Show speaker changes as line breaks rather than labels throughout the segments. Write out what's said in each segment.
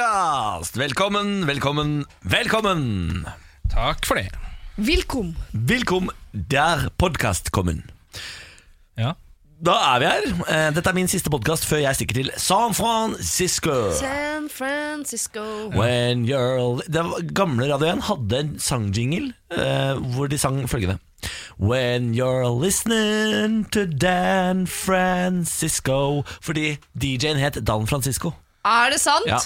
podkast! Velkommen, velkommen, velkommen!
Takk for det.
Velkom.
Velkommen der podkast kommen.
Ja.
Da er vi her. Eh, Dette er min siste podkast før jeg stikker til San Francisco.
San Francisco.
When you're al- Det var- Gamle Radio 1 hadde en sangjingle eh, hvor de sang følgende. When you're listening to Dan Francisco Fordi DJ-en het Dan Francisco.
Er det sant?
Ja.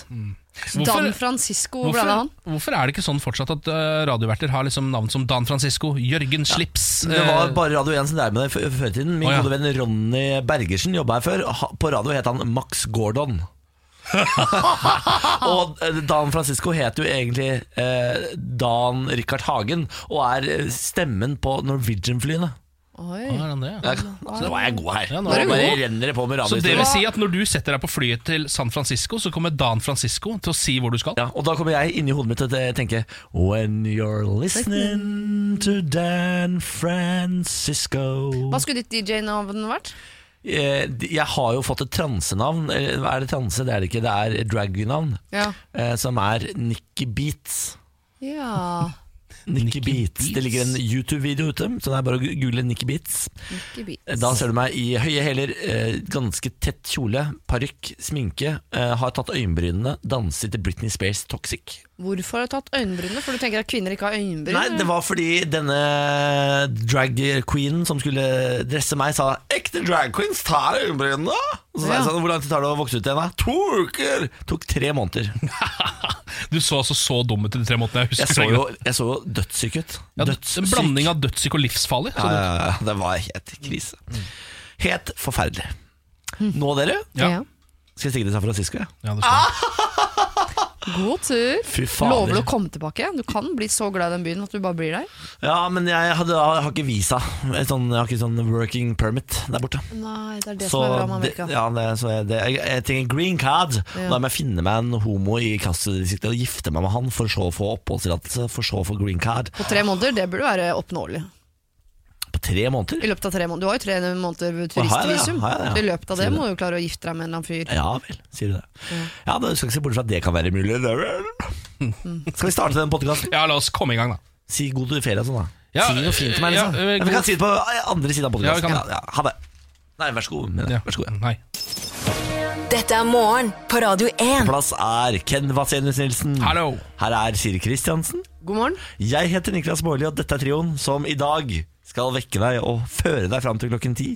Dan Francisco, hvor ble det av
hvorfor,
han?
hvorfor er det ikke sånn fortsatt at eh, radioverter har liksom navn som Dan Francisco, Jørgen Slips
Det var
eh,
bare Radio 1 som drev med det før før i tiden. Min
Å, ja.
gode venn Ronny Bergersen jobba her før. Ha- På radio het han Max Gordon. og eh, Dan Francisco het jo egentlig eh, Dan Richard Hagen, og er eh, stemmen på Norwegian-flyene.
Oi.
Er han det, ja?
Ja, Så nå er jeg god her.
Ja, nå
nå
er du
bare
god.
renner det på med
Så det vil
radiohistorier.
si at når du setter deg på flyet til San Francisco, så kommer Dan Francisco til å si hvor du skal?
Ja, og da kommer jeg inni hodet mitt til å tenke When you're listening to Dan Francisco
Hva skulle ditt DJ-navn vært?
Eh, de- Jeg har jo fått et transenavn. Eh, Er det transe? Det er det ikke. Det er et dragnavn.
Ja.
eh, Som er Nikki Beats.
Ja,
Nikki
Nikki Beats. Det
Beats.
ligger en YouTube-video ute, så det er bare å gu- google Nikki Beats.
Nikki
Eh,
Beats.
Da ser du meg i høye hæler, eh, ganske tett kjole, parykk, sminke. eh, Har tatt øyenbrynene, danser til Britney Spears Toxic.
Hvorfor har du tatt øyenbrynene? For du tenker at kvinner ikke har øyenbryn?
Nei, det var fordi denne drag queen som skulle dresse meg, sa 'ekte drag queens tar øyenbrynene'. Og så sa jeg
Ja.
sånn 'hvor lang tid tar det å vokse ut igjen', da? To uker! Tok tre måneder.
Du så altså så dum ut i de tre månedene. Jeg
Jeg
husker
så jo, jeg så jo dødssyk ut.
ja,
Dødssyk.
En blanding av dødssyk og livsfarlig. Så
ja, ja, ja, Det var helt krise.
Mm.
Helt forferdelig. Nå, dere,
ja.
Ja.
skal jeg stikke til San Francisco. jeg.
Ja, det skjønner
Ah!
jeg.
God tur.
Fy fader.
Lover du å komme tilbake? Du kan bli så glad i den byen at du bare blir der.
Ja, men jeg, hadde, jeg har ikke visa. Et Sånn, jeg har ikke sånn working permit der borte.
Nei, det er det som
Så,
er bra med
det,
Amerika.
ja, det, så jeg, det, jeg, jeg trenger green card.
Ja.
Da må jeg finne meg en homo i kastedistriktet og gifte meg med han, for så å få oppholdstillatelse, for så å få green card.
På tre måneder, det burde være oppnåelig.
På tre måneder?
I løpet av tre måneder. Du har jo tre måneder
Har jeg det, ja?
turistvisum.
Har jeg det, ja? Eh.
Så I løpet av det
Sier du
må du jo klare å gifte deg med en eller annen fyr.
Ja vel, sier du det. Ja, Du skal ikke se bort fra at det kan være mulig. Det er vel.
Mm.
Skal vi starte den podkasten?
ja, la oss komme i gang, da.
Si god ferie og sånn, da.
Ja,
si noe fint til meg,
ja,
liksom.
eh,
Ja,
god-
vi kan si det på andre siden av
Ja, vi
podkasten.
kan
Ja, ja, ha det. Nei, vær så god. mener jeg.
Ja.
Vær så god. ja.
Nei.
Dette er morgen på Radio 1.
Plass er Ken Vasenius Nilsen.
Hallo.
Her er Siri Kristiansen.
God morgen.
Jeg heter Niklas Baarli, og dette er trioen som i dag skal vekke deg og føre deg fram til klokken ti.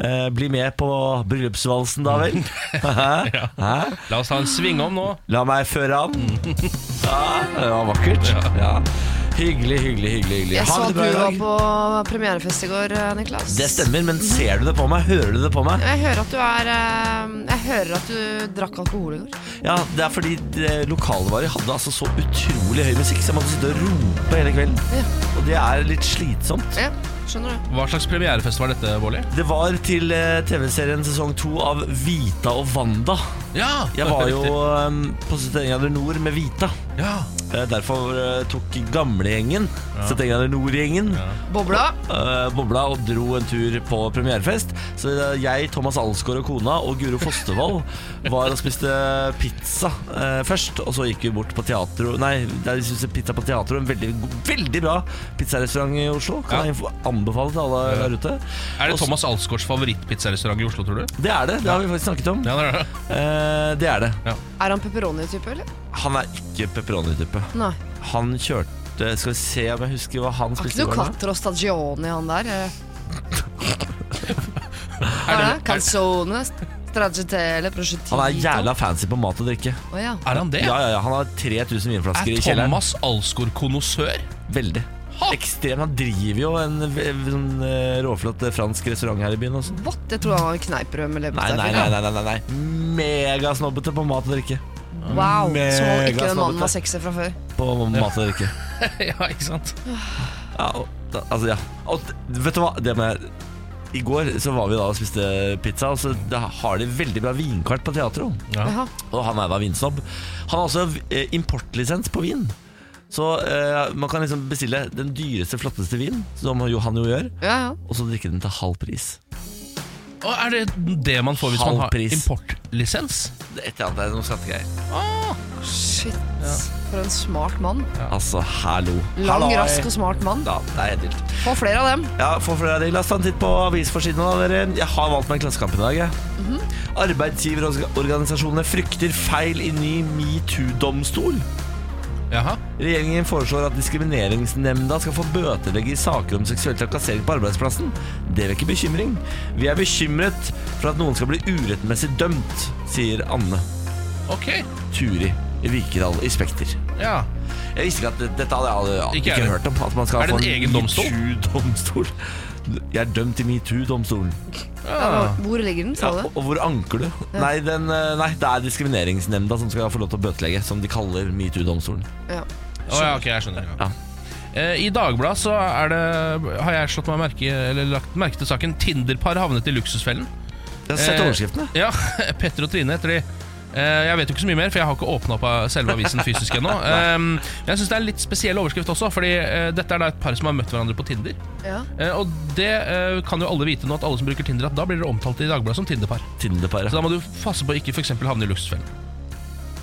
Eh, bli med på bryllupsvalsen, da vel. Hæ? Hæ?
La oss ta en sving om nå.
La meg føre an. Ja, det var vakkert. Ja. Hyggelig, hyggelig, hyggelig. hyggelig.
Jeg så
Ha
at
det
du
bra i
var
dag.
på premierefest i går, eh, Niklas.
Det stemmer, men ser du det på meg? Hører du det på meg?
Jeg hører at du er eh, Jeg hører at du drakk alkohol i går.
Ja, Det er fordi eh, lokalvarer hadde altså så utrolig høy musikk, så jeg måtte sitte og rope hele
Ja.
kvelden. Og det er litt slitsomt.
Ja, skjønner du.
Hva slags premierefest var dette, Bårli?
Det var til eh, TV-serien sesong to av Vita og Wanda.
Ja,
Jeg var jo um, på 71 grader nord med Vita.
ja.
Eh, Derfor eh, tok gamlegjengen, 71 grader nord-gjengen,
Bobla.
eh, bobla og dro en tur på premierefest. Så eh, jeg, Thomas Alsgaard og kona og Guro Fostervoll var og spiste pizza eh, først. Og så gikk vi bort på teatro Nei, der vi spiste pizza på teatro. En veldig, go- veldig bra pizzarestaurant i Oslo. Kan
Ja.
jeg info- anbefale til alle der ute.
Er det
Og så-
Thomas Alsgaards favorittpizzarestaurant i Oslo, tror du?
Det er det. Det har vi faktisk snakket om.
Ja, det er det.
Eh, det er det.
Er han pepperoni-type, eller?
Han er ikke pepperoni-type.
Nei.
Han kjørte Skal vi se om jeg husker hva han
Har ikke
spiste
noe
i går, da?
quattro stagioni, han der? eh. Hva
Er
er
det-
det? Canzone, stracciatelle, prosciutto
Han er jævla fancy på mat og drikke.
Å ja.
Er han det?
Ja, ja, ja, Han har 3000 vinflasker
Er
i kjelleren.
Thomas Alsgaard konnoissør?
Veldig.
Ha!
Ekstrem. Han driver jo en, v- v- sånn, eh, råflott eh, fransk restaurant her i byen. Også.
What? Jeg tror han var kneippbrød med
Nei,
leverpostei.
nei, nei. nei, nei, nei. Megasnobbete på mat og drikke.
Wow. Så
Mega
ikke den
snobbete.
mannen var sexy fra før.
På mat og drikke.
ja, ikke sant?
Ja, og, da, altså, ja. Og, d- vet du hva? Det med I går så var vi da og spiste pizza, og så da har de veldig bra vinkart på teatro.
Jaha.
Og han er da vinsnobb. Han har også eh, importlisens på vin. Så eh, man kan liksom bestille den dyreste, flotteste vin, som jo han jo gjør,
Ja, ja.
og så drikke den til halv pris.
Og er det det man får hvis man
Halv
har
pris.
importlisens?
Et eller annet, det er noen skattegreier.
Shit. For en smart mann.
Altså, hallo.
Lang,
Halloi.
rask og smart mann.
Ja, det er helt vilt.
Få flere av dem.
Ja, for flere av de, La oss ta en titt på avisforsidene. da, dere. Jeg har valgt meg Klassekamp i dag. jeg.
Mhm.
Arbeidsgiverorganisasjonene frykter feil i ny metoo-domstol.
Jaha.
Regjeringen foreslår at diskrimineringsnemnda skal få bøtelegge i saker om seksuell trakassering på arbeidsplassen. Det vekker bekymring. Vi er bekymret for at noen skal bli urettmessig dømt, sier Anne
Ok.
Turi Vikedal i Spekter.
Ja.
Jeg visste ikke at det- dette hadde jeg aldri, aldri
Ikke
ikke,
jeg heller.
hørt om. At man skal
Er det
få
en egen domstol?
metoo-domstol. Jeg er dømt i metoo-domstolen.
ja.
Hvor ligger den,
Ja,
sa du?
og hvor anker du? Nei, den, eh, nei, det er diskrimineringsnemnda som skal få lov til å bøtelegge, som de kaller metoo-domstolen.
Ja.
Å ja, ok, jeg skjønner.
Ja.
Eh, I Dagbladet så er det, har jeg slått meg merke, eller lagt merke til saken Tinderpar havnet i luksusfellen.
Jeg har sett
Eh,
overskriftene.
Ja, Petter og Trine heter de. Eh, Jeg vet jo ikke så mye mer, for jeg har ikke åpna opp av selve avisen fysisk ennå. Eh, Men jeg syns det er en litt spesiell overskrift også, Fordi eh, dette er da et par som har møtt hverandre på Tinder.
Ja.
Eh, Og det eh, kan jo alle vite nå, at alle som bruker Tinder, at da blir dere omtalt i Dagbladet som Tinderpar.
Tinderparet.
Så da må du passe på å ikke for eksempel havne i luksusfellen.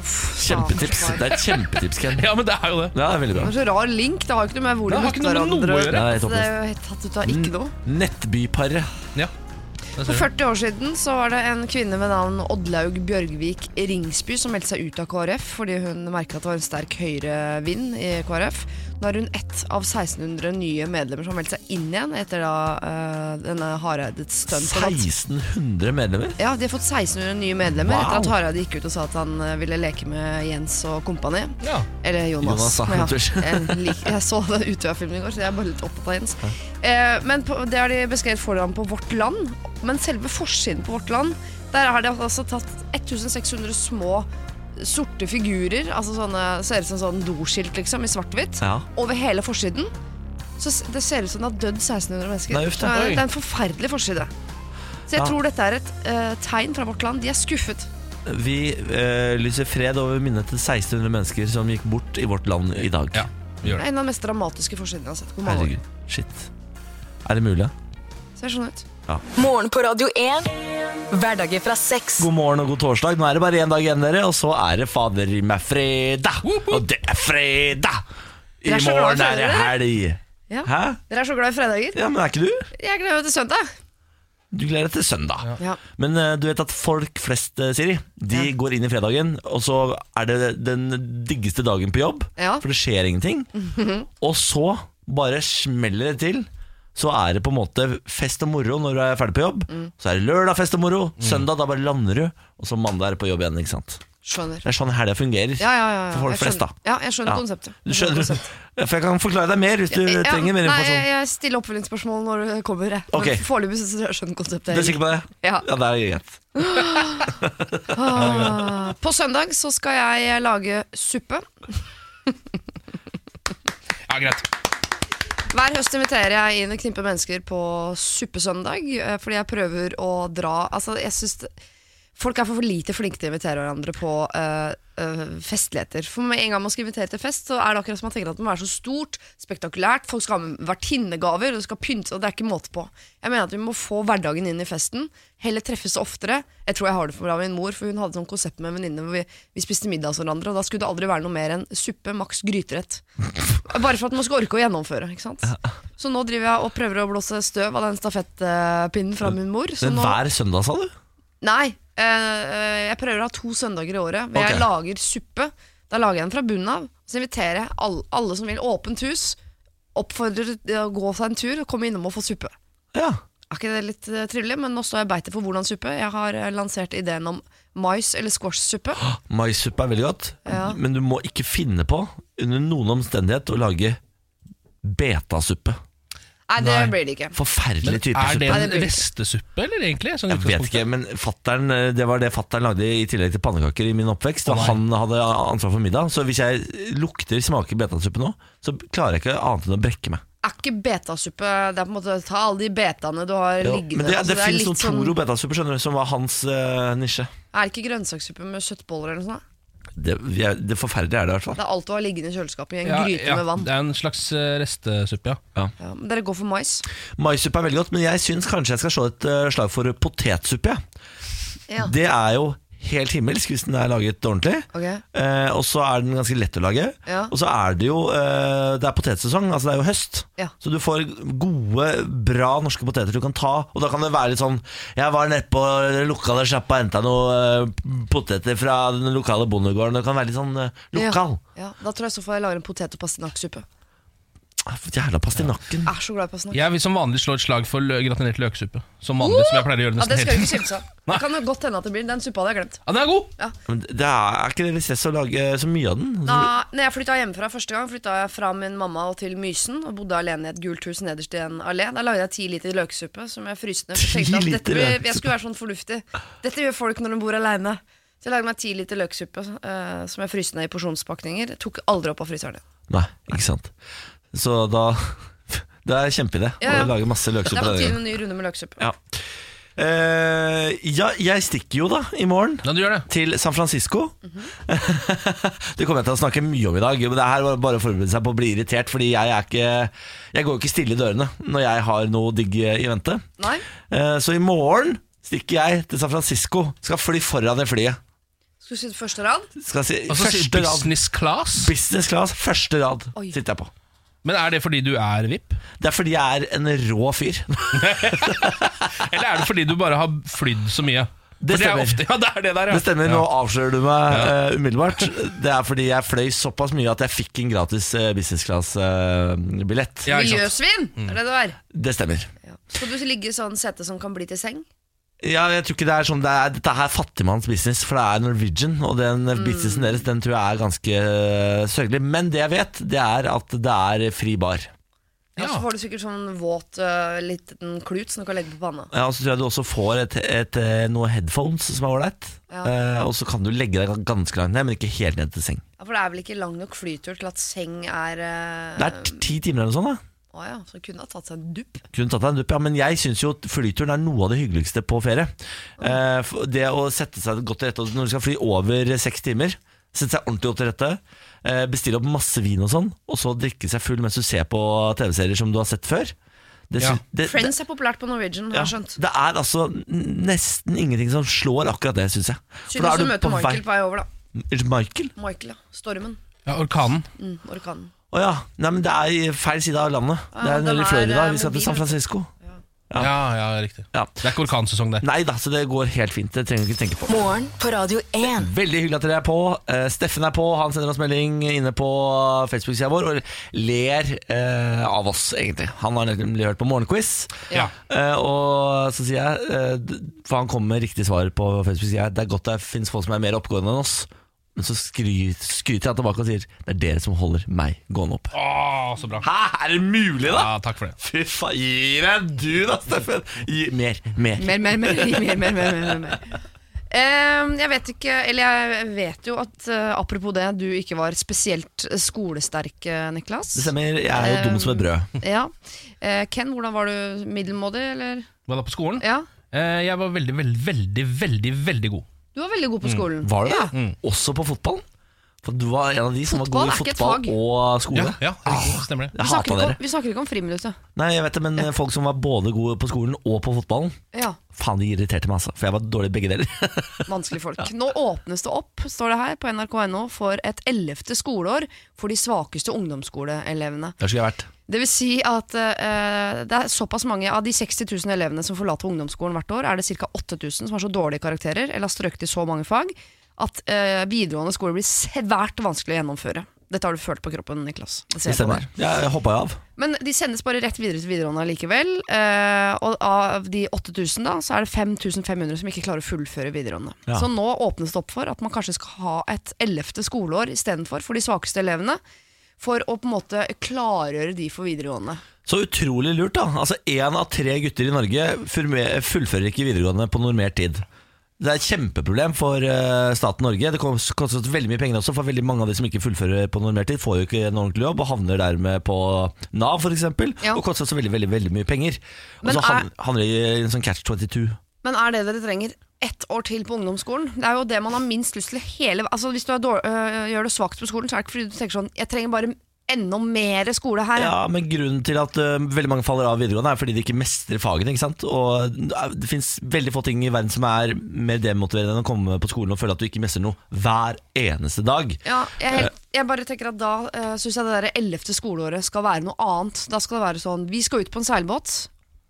Kjempetips.
Faen,
Det er et kjempetips, Ken.
Ja, men det er jo det.
Ja, det er veldig bra.
Det var så rar link. Det har jo ikke noe med hvor de
Det har
møtte
ikke noe med
hverandre
noe å Mm.
gjøre. Nei,
Så Det er jo helt tatt ut av ikke noe.
Nettbyparet.
Ja, det
For
ser
40
du.
år siden så var det en kvinne ved navn Oddlaug Bjørgvik Ringsby som meldte seg ut av KrF fordi hun merka at det var en sterk høyrevind i KrF. Nå er hun ett av 1600 nye medlemmer som har meldt seg inn igjen etter da eh, denne Hareides stunt. og at-
1600 medlemmer?
Ja, de har fått 1600 nye medlemmer
Wow.
etter at Hareide gikk ut og sa at han eh, ville leke med Jens og kompani.
Ja.
Eller
Jonas,
Jonas.
sa
men ja,
Hunter.
jeg, lik, jeg så den Utøya-filmen i går, så jeg er bare litt opptatt av Jens. Eh, men på, det har de beskrevet foran på Vårt Land. Men selve forsiden på Vårt Land, der har de altså tatt 1600 små sorte figurer, altså sånne, ser ut som sånn doskilt, liksom, i svart-hvitt,
Ja.
over hele forsiden. Så s- det ser ut som det har dødd 1600 mennesker.
Nei, uff da.
det,
Oi.
er, det er en forferdelig forside. Så jeg
Ja.
tror dette er et eh, tegn fra Vårt Land. De er skuffet.
Vi eh, lyser fred over minnet til 1600 mennesker som gikk bort i vårt land i dag.
Ja, vi
Det
gjør det.
er en av de mest dramatiske forsidene jeg har sett på mange år.
Herregud. Shit. Er det mulig?
Ser sånn ut.
Morgen på Radio 1. Hverdager fra seks.
God morgen og god torsdag. Nå er det bare én dag igjen, dere, og så er det fader i meg fredag. Og det er fredag! I
Dere er så glad
morgen
i
er det helg.
Ja.
Hæ?
Dere er så glad i fredager.
Ja, men er ikke du?
Jeg gleder meg til søndag.
Du gleder deg til søndag.
Ja.
Men eh, du vet at folk flest, eh, Siri, de
Ja.
går inn i fredagen, og så er det den diggeste dagen på jobb,
Ja.
for det skjer ingenting. Og så bare smeller det til. Så er det på en måte fest og moro når du er ferdig på jobb.
Mm.
Så er det lørdag fest og moro, søndag da bare lander du, og så mandag er det på jobb igjen. ikke sant?
Skjønner.
Det er sånn helga fungerer
Ja, ja, ja, ja.
for folk
Jeg
flest, da.
skjønner. Ja, jeg skjønner
Ja.
konseptet. Jeg
Du skjønner, for jeg kan forklare deg mer hvis du
Ja,
trenger mer
nei,
informasjon.
jeg, jeg stiller oppfølgingsspørsmål når det kommer. jeg.
Ok.
Men Foreløpig syns jeg jeg skjønner konseptet.
Du er sikker på det?
Ja.
ja det er greit.
Ah, på søndag så skal jeg lage suppe.
Ja, greit.
Hver høst inviterer jeg inn et knippe mennesker på suppesøndag, eh, fordi jeg prøver å dra Altså, jeg syns det- Folk er for lite flinke til å invitere hverandre på eh, eh, festligheter. For med en gang man skal invitere til fest, så er det akkurat som man tenker at det må være så stort, spektakulært, folk skal ha med vertinnegaver, og det skal pynte og det er ikke måte på. Jeg mener at vi må få hverdagen inn i festen, heller treffes oftere. Jeg tror jeg har det for bra med min mor, for hun hadde sånn konsept med en venninne hvor vi, vi spiste middag hos hverandre, og da skulle det aldri være noe mer enn suppe, maks gryterett. Bare for at man skal orke å gjennomføre. ikke sant? Så nå driver jeg og prøver å blåse støv av den stafettpinnen fra min mor. Så
Men
nå,
hver søndag, sa du?
nei, eh, jeg prøver å ha to søndager i året hvor
Ok.
jeg lager suppe. Da lager jeg den fra bunnen av. Så inviterer jeg alle, alle som vil, åpent hus. Oppfordrer til å gå seg en tur og komme innom og få suppe.
Ja.
Er ikke det litt eh, trivelig? Men nå står jeg i beitet for hvordan suppe. Jeg har eh, lansert ideen om mais- eller squashsuppe.
Maissuppe er veldig godt,
Ja.
men du må ikke finne på under noen omstendighet å lage betasuppe.
Nei, det
Nei.
blir det ikke.
Forferdelig type
Er det
suppe.
en restesuppe, eller egentlig? Sånn
Jeg vet ikke, men fatteren, eh, Det var det fattern lagde i tillegg til pannekaker i min oppvekst. Og
nei.
han hadde ansvar for middag. Så hvis jeg lukter, smaker betasuppe nå, så klarer jeg ikke annet enn å brekke meg.
Er ikke betasuppe Det er på en måte ta alle de betaene du har
Jo,
liggende.
Men det,
Altså,
det,
er
finnes
litt
noen Toro betasuppe, skjønner du, som var hans eh, nisje.
Er det ikke grønnsaksuppe med kjøttboller eller noe sånt?
Det, jeg- det forferdelige er det i hvert fall.
Det er alt du har liggende i kjøleskapet i en
Ja,
gryte
ja,
med vann.
Det er en slags eh, restesuppe, ja.
Ja, men dere går for mais.
Maissuppe er veldig godt, men jeg syns kanskje jeg skal slå et eh, slag for potetsuppe. jeg.
Ja.
Det er jo helt himmelsk hvis den er laget ordentlig.
Ok.
Eh, og så er den ganske lett å lage.
Ja.
Og så er det jo eh, Det er potetsesong, altså det er jo høst.
Ja.
Så du får gode, bra norske poteter du kan ta. Og da kan det være litt sånn Jeg var nedpå lokale sjappa og henta noen eh, poteter fra den lokale bondegården. Det kan være litt sånn eh, lokal.
Ja, ja. Da tror jeg så får jeg lage en potet- og pastinakksuppe.
Ah, Jævla pastinakken.
Jeg er så glad i pastinakk.
Jeg vil som vanlig slå et slag for lø- gratinert løksuppe. Som vanlig, som jeg pleier å gjøre
Ja, det
nesten
skal du ikke
hele tiden.
skimse av. Det kan jo godt hende at det blir den suppa hadde jeg glemt.
Ja, den er god!
Men Det er, er ikke det litt stress å lage eh, så mye av den?
Da når jeg flytta hjemmefra første gang, flytta jeg fra min mamma og til Mysen og bodde alene i et gult hus nederst i en allé. Da lagde jeg ti liter løksuppe som jeg fryste ned. For jeg tenkte
10
at
liter
dette blir,
løksuppe.
jeg skulle være sånn fornuftig. Dette gjør folk når de bor aleine. Så jeg lagde meg ti liter løksuppe eh, som jeg fryste ned i porsjonspakninger. Tok aldri opp av fryseren igjen.
Nei, ikke sant. Så da Det er kjempeidé
Ja, ja.
å lage masse
Det
løksuppe.
er på
denne
tide
gangen.
med en ny runde med løksuppe.
Ja. Eh, ja, jeg stikker jo da i morgen.
Ja, du gjør det.
Til San Francisco. det kommer jeg til å snakke mye om i dag. Men det her var bare å forberede seg på å bli irritert, Fordi jeg, er ikke, jeg går jo ikke stille i dørene når jeg har noe digg i vente.
Nei?
Eh, så i morgen stikker jeg til San Francisco. Skal fly foran det flyet.
Skulle sitte første rad?
Skal si,
Og så sier
første rad.
business class.
Business class, første rad
Oi.
sitter jeg på.
Men er det fordi du er VIP?
Det er fordi jeg er en rå fyr.
Eller er det fordi du bare har flydd så mye? For det
Det
er
stemmer.
ofte, ja, det er det der, ja.
Det stemmer,
ja.
nå avslører du meg eh, umiddelbart. Det er fordi jeg fløy såpass mye at jeg fikk en gratis eh, business class-billett.
Ja, ikke sant.
Miljøsvin, er det det er.
Det stemmer.
Ja. Skal du ligge i sånn sete som kan bli til seng?
Ja, jeg tror ikke det er sånn det er, Dette her er fattigmannsbusiness, for det er Norwegian. Og den businessen deres den tror jeg er ganske eh, sørgelig. Men det jeg vet, det er at det er fri bar.
Ja.
Ja.
Så får du sikkert sånn våt eh, liten klut som du kan legge på panna.
Ja, og så tror jeg du også får et, et, eh, noen headphones som er ålreit.
Ja.
Eh, og så kan du legge deg ganske langt ned, men ikke helt ned til seng.
Ja, for det er vel ikke lang nok flytur til at seng er eh,
Det er t- ti timer eller noe sånt. da
Å ja, så kunne ha tatt seg en dupp.
Kunne tatt deg en dupp, ja, men jeg syns jo at flyturen er noe av det hyggeligste på ferie. Eh, for det å sette seg godt til rette og når du skal fly over seks timer, sette seg ordentlig godt til rette, eh, bestille opp masse vin og sånn, og så drikke seg full mens du ser på TV-serier som du har sett før. Det,
Ja.
sy- det, det,
Friends er populært på Norwegian, har
ja,
jeg skjønt.
det er altså nesten ingenting som slår akkurat det, syns jeg. For
Synes
da er
å
du
møte
på vei
Michael på vei over, da.
Michael?
Michael, ja. Stormen.
ja, orkanen.
Mm, orkanen.
Å ja. Nei, men det er i feil side av landet.
Ja,
Det er
den
nede i
er,
Florida.
eh,
Vi skal til
mobil,
San
vet du.
Francisco. Ja.
Ja, ja, riktig.
Ja.
Det er ikke orkansesong, det.
Nei da, så det går helt fint. Det trenger du ikke tenke på.
Morgen på Radio 1.
Veldig hyggelig at dere er på. Eh, Steffen er på, han sender oss melding inne på Facebook-sida vår og ler eh, av oss, egentlig. Han har nemlig hørt på Morgenquiz,
Ja.
eh, og så sier jeg, eh, d- for han kommer med riktig svar på Facebook-sida, det er godt det finnes folk som er mer oppegående enn oss. Men så skry- skryter jeg tilbake og sier det er dere som holder meg gående opp.
Å, så bra.
Hæ, er det mulig, da?
Ja, takk for det.
Fy faen, gi deg du da, Steffen! Gi, mer, mer.
Mer, mer, mer. mer, mer, mer, mer, mer. Eh, jeg vet ikke, eller jeg vet jo at eh, apropos det, du ikke var spesielt skolesterk, eh, Niklas.
Det stemmer, jeg er jo dum som et brød.
Ja. Eh, Ken, hvordan var du? Middelmådig, eller?
Var det på skolen?
Ja.
Eh, Jeg var veldig, veldig, veldig, veldig veldig god.
Du var veldig god på skolen.
Var du det?
Ja.
Også på fotballen? For du var en av de som
Fotball
var
er
god
ikke
i
et
fotball
fag.
og skole.
Ja, ja
Ah.
riktig, stemmer det.
Vi
Jeg
snakker,
hata
ikke
dere.
om, vi snakker ikke om friminuttet.
Nei, jeg vet det, men folk som var både gode på skolen og på fotballen,
Ja.
faen, de irriterte meg, altså. For jeg var dårlig i begge deler.
Vanskelige folk. Nå åpnes det opp, står det her på nrk.no, for et ellevte skoleår for de svakeste ungdomsskoleelevene.
Der skulle jeg vært.
Det vil si at eh, det er såpass mange av de 60 000 elevene som forlater ungdomsskolen hvert år, er det ca. 8000 som har så dårlige karakterer eller har strøket i så mange fag at eh, videregående skole blir svært vanskelig å gjennomføre. Dette har du følt på kroppen, Niklas. Det ser
Det
jeg på deg.
stemmer. Jeg hoppa jo av.
Men de sendes bare rett videre til videregående likevel. Eh, og av de 8000, da, så er det 5500 som ikke klarer å fullføre videregående.
Ja.
Så nå åpnes det opp for at man kanskje skal ha et ellevte skoleår istedenfor for de svakeste elevene. For å på en måte klargjøre de for videregående.
Så utrolig lurt, da. Altså Én av tre gutter i Norge furme- fullfører ikke videregående på normert tid. Det er et kjempeproblem for eh, staten Norge. Det kom- koster oss veldig mye penger også, for veldig mange av de som ikke fullfører på normert tid, får jo ikke en ordentlig jobb og havner dermed på Nav f.eks.
Ja.
Og koster oss veldig veldig, veldig mye penger. Og
Men
så
er-
havn- havner de i en sånn catch 22.
Men er det dere trenger ett år til på ungdomsskolen. Det er jo det man har minst lyst til hele Altså Hvis du er dårlig, øh, gjør det svakt på skolen, så er det ikke fordi du tenker sånn Jeg trenger bare enda mer skole her.
Ja, men grunnen til at ø, veldig mange faller av videregående er fordi de ikke mestrer fagene, ikke sant? Og ø, det finnes veldig få ting i verden som er mer demotiverende enn å komme på skolen og føle at du ikke mestrer noe hver eneste dag.
Ja, jeg, er helt, jeg bare tenker at da uh, syns jeg det der ellevte skoleåret skal være noe annet. Da skal det være sånn Vi skal ut på en seilbåt,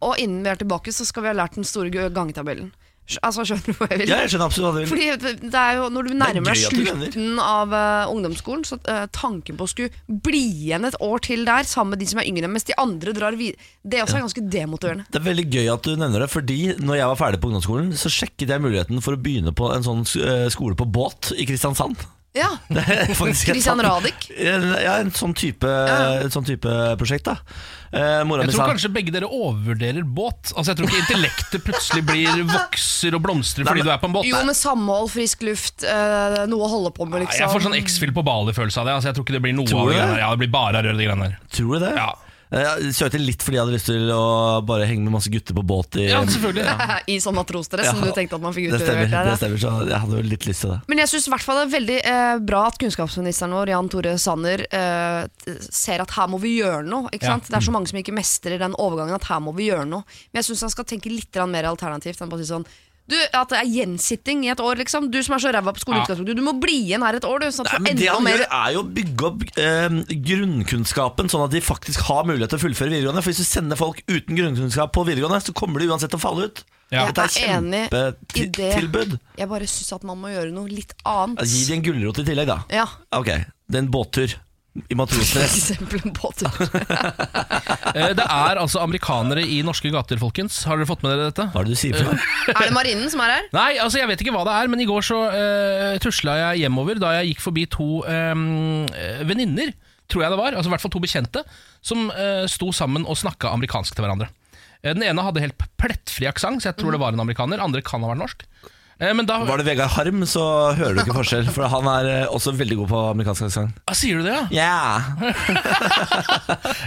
og innen vi er tilbake, så skal vi ha lært den store g- gangetabellen. Skj- Altså, skjønner du hva jeg vil?
Ja, jeg skjønner absolutt hva du vil.
Fordi det er jo Når du nærmer deg
gøy at du mener.
slutten av eh, ungdomsskolen, så eh, tanken på å skulle bli igjen et år til der sammen med de som er yngre, mens de andre drar videre, det også er ganske demotiverende.
Det er veldig gøy at du nevner det, fordi når jeg var ferdig på ungdomsskolen, så sjekket jeg muligheten for å begynne på en sånn ø, skole på båt i Kristiansand.
Ja.
Det er faktisk helt
Christian
sant.
Radich?
Ja, en sånn type, en sånn type prosjekt, da. Eh, mora
Jeg
mi
tror
sa
kanskje begge dere overvurderer båt. Altså Jeg tror ikke intellektet plutselig blir vokser og blomstrer fordi du er på en båt.
Jo, med samhold, frisk luft, eh, noe å holde på med,
Nei,
liksom.
Jeg får sånn X-Fill på Bali-følelse av det. Altså Jeg tror ikke det blir noe
Tror
av
du
det.
det?
Ja, det blir bare rør, de greiene der.
Tror du det?
Ja.
Eh, Jeg søkte litt fordi jeg hadde lyst til å bare henge med masse gutter på båt. I,
Ja, selvfølgelig.
I sånn matrosdress som
Ja,
du tenkte at man fikk
det stemmer,
utlevert der.
det
da.
stemmer, så jeg hadde jo litt lyst til det.
Men jeg syns i hvert fall det er veldig eh, bra at kunnskapsministeren vår, Jan Tore Sanner, eh, t- ser at her må vi gjøre noe. Ikke
Ja.
sant? Det er så mange som ikke mestrer den overgangen at her må vi gjøre noe. Men jeg syns han skal tenke litt grann mer alternativt enn bare å si sånn du, At det er gjensitting i et år, liksom. Du som er så ræva på skolen i
Ja.
utgangspunktet, du må bli igjen her et år, du. Sånn at
Nei,
du får
men det
enda
han
mer
gjør er jo å bygge opp eh, grunnkunnskapen, sånn at de faktisk har mulighet til å fullføre videregående. For hvis du sender folk uten grunnkunnskap på videregående, så kommer de uansett til å falle ut.
Ja.
Dette
Jeg
er
er enig i det.
kjempetilbud.
Jeg bare syns at man må gjøre noe litt
Ja,
annet.
Gi de en gulrot i tillegg, da.
Ja.
Ok, det er en båttur i
For
matrosdress.
eksempel en båttur.
Eh, Det er altså amerikanere i norske gater, folkens. Har dere fått med dere dette?
Hva er det du sier for noe?
Er det marinen som er her?
Nei, altså jeg vet ikke hva det er, men i går så uh, tusla jeg hjemover da jeg gikk forbi to um, venninner, tror jeg det var, altså i hvert fall to bekjente, som eh, sto sammen og snakka amerikansk til hverandre. Eh, den ene hadde helt plettfri aksent, så jeg tror det var en amerikaner. Andre kan ha vært norsk. Eh, men da
Var det Vegard Harm, så hører du ikke forskjell. For han er eh, også veldig god på amerikansk aksent.
Ah, Sier du det, ja?
Yeah.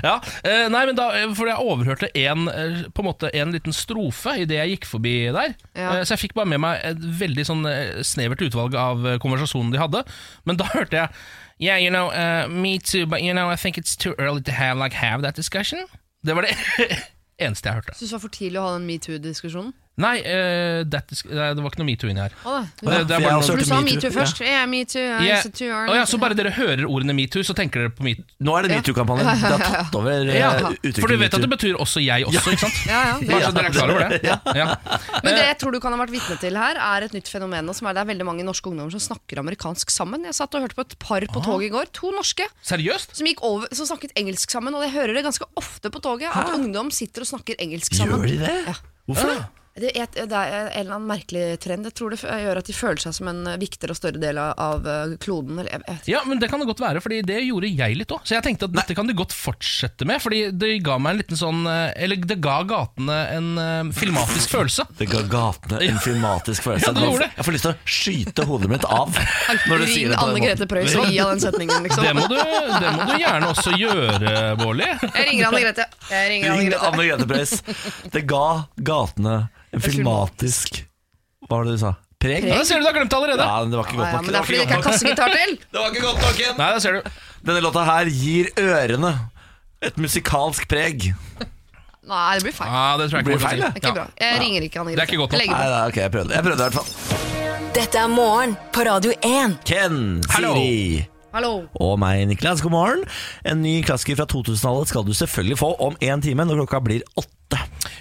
ja. eh, nei, men da, eh, for jeg overhørte en, eh, på en måte en liten strofe idet jeg gikk forbi der.
Ja.
Eh, så jeg fikk bare med meg et veldig sånn eh, snevert utvalg av eh, konversasjonen de hadde. Men da hørte jeg Yeah, you know, eh, me too, but you know, I think it's too early to have, like, have that discussion. Det var det eneste jeg hørte.
Syns det var for tidlig å ha den metoo-diskusjonen.
Nei, eh, that dis nei, det var ikke noe metoo inni her.
Å, det-
Det, det er
for jeg
bare
har
noe,
også-
For du sa
hørte metoo,
metoo først. Yeah, metoo.
Yeah.
Yeah.
Å ja, så bare dere hører ordene metoo, så tenker dere på metoo.
Nå er det metoo-kampanjen. Det har tatt over eh, uttrykket
For du vet at
metoo.
det betyr også jeg også, ikke sant?
Ja, ja, det-
Bare så dere er klar over det.
Ja.
Ja.
Eh.
Men det jeg tror du kan ha vært vitne til her, er et nytt fenomen. nå, Som er det er veldig mange norske ungdommer som snakker amerikansk sammen. Jeg satt og hørte på et par
Ah.
på toget i går. To norske.
Seriøst?
Som, gikk over, som snakket engelsk sammen, og jeg hører det ganske ofte på toget. At ungdom sitter og snakker engelsk sammen.
Gjør de det?
Ja.
Hvorfor det?
Det er, et- det er en eller annen merkelig trend. Jeg tror det f- gjør at de føler seg som en eh, viktigere og større del av- av eh, kloden. Eller, jeg, jeg,
Ja, men Det kan det godt være, Fordi det gjorde jeg litt òg. Så jeg tenkte at dette kan du godt fortsette med. Fordi det ga meg en liten sånn eh, Eller det ga gatene en eh, filmatisk følelse.
Det ga gatene en filmatisk følelse.
Ja, det gjorde det.
Jeg får lyst til å skyte hodet mitt av
Ring
når du sier det. på den
Anne Grete
måten.
Preus og gi av den setningen, liksom.
Det må du, det må du gjerne også gjøre, Bårli.
Jeg ringer Anne Grete. Jeg ringer Anne
Ring
Grete.
Anne Grete Preus. Det ga gatene en filmatisk Hva var det du sa? Preg?
Ja, da ser du du har glemt det allerede.
Ja, men det var
Ja,
ikke godt
ja,
nok.
men det er fordi det ikke
var ikke
er
godt nok.
kassegitar til.
Det var ikke godt nok igjen.
Nei, da ser du.
Denne låta her gir ørene et musikalsk preg.
Nei, det blir feil.
Ja, det tror jeg
Blir
ikke
feil,
det.
Ikke bra. Jeg ringer ikke Anne Grete.
Det er ikke godt nok.
Jeg legger
Nei,
på.
nei, ok, jeg prøvde. Jeg prøvde i hvert fall.
Dette er morgen på Radio 1.
Ken,
Hallo.
Siri
Hallo.
og meg, Niklas. God morgen. En ny klassiker fra 2000-tallet skal du selvfølgelig få om én time når klokka blir åtte.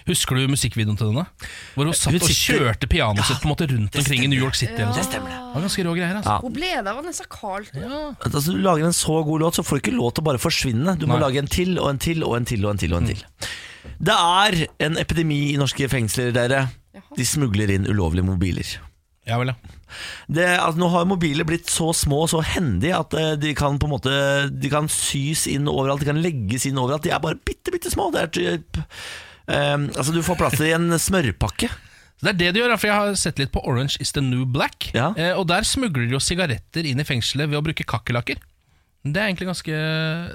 Husker du musikkvideoen til denne? Hvor hun satt
Hun
og
sitter-
kjørte pianoet sitt på en måte rundt omkring i New York City. Eller noe
Det
sånt.
stemmer det.
Det var ganske rå greier, altså.
Hvor ble det av Vanessa Carlton?
altså, du lager en så god låt, så får du ikke lov til å bare forsvinne. Du må
Nei.
lage en til og en til og en til og en til. og en til Det er en epidemi i norske fengsler, dere. De smugler inn ulovlige mobiler.
Ja vel, ja.
Det, altså, nå har mobiler blitt så små og så hendige at eh, de kan på en måte De kan sys inn overalt, de kan legges inn overalt. De er bare bitte, bitte små. Det er typ, eh, altså, du får plass til en smørpakke.
Så Det er det de gjør, ja, for jeg har sett litt på Orange is the New Black.
Ja.
Eh, og der smugler de jo sigaretter inn i fengselet ved å bruke kakerlakker. Det er egentlig ganske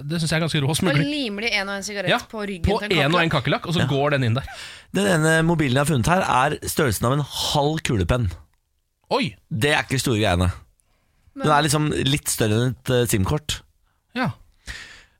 Det syns jeg er ganske rå
Da
smugling.
limer de en og en sigarett
Ja,
på ryggen
på
til en
en og en
kakerlakk.
kakerlakk, og så går den inn der.
Den ene mobilen jeg har funnet her, er størrelsen av en halv kulepenn.
Oi!
Det er ikke store greiene. Den er liksom litt større enn et eh, SIM-kort.
Ja.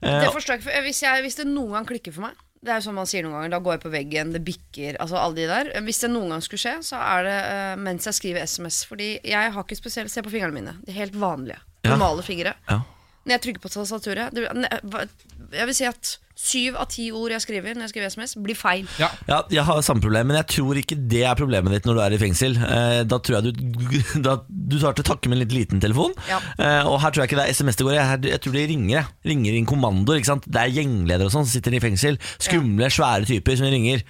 Eh,
Det forstår jeg ikke. for Hvis, jeg, hvis det noen gang klikker for meg Det er jo sånn man sier noen ganger. Da går jeg på veggen, det bikker, altså alle de der. Hvis det noen gang skulle skje, så er det eh, mens jeg skriver SMS. Fordi jeg har ikke spesielt Se på fingrene mine. De helt vanlige.
Ja.
Normale fingre.
Eh, Ja.
Når jeg trykker på tastaturet det- ne- hva- Jeg vil si at syv av ti ord jeg skriver når jeg skriver SMS, blir feil.
ja.
Ja, jeg har samme problem, men jeg tror ikke det er problemet ditt når du er i fengsel. Eh, da tror jeg du, da, du tar til takke med en litt liten telefon.
Ja.
Eh, og her tror jeg ikke det er SMS det går i. Her, jeg tror de ringer. jeg. Ringer inn kommandoer. ikke sant? Det er gjengledere og sånn som sitter i fengsel. Skumle, svære typer som ringer.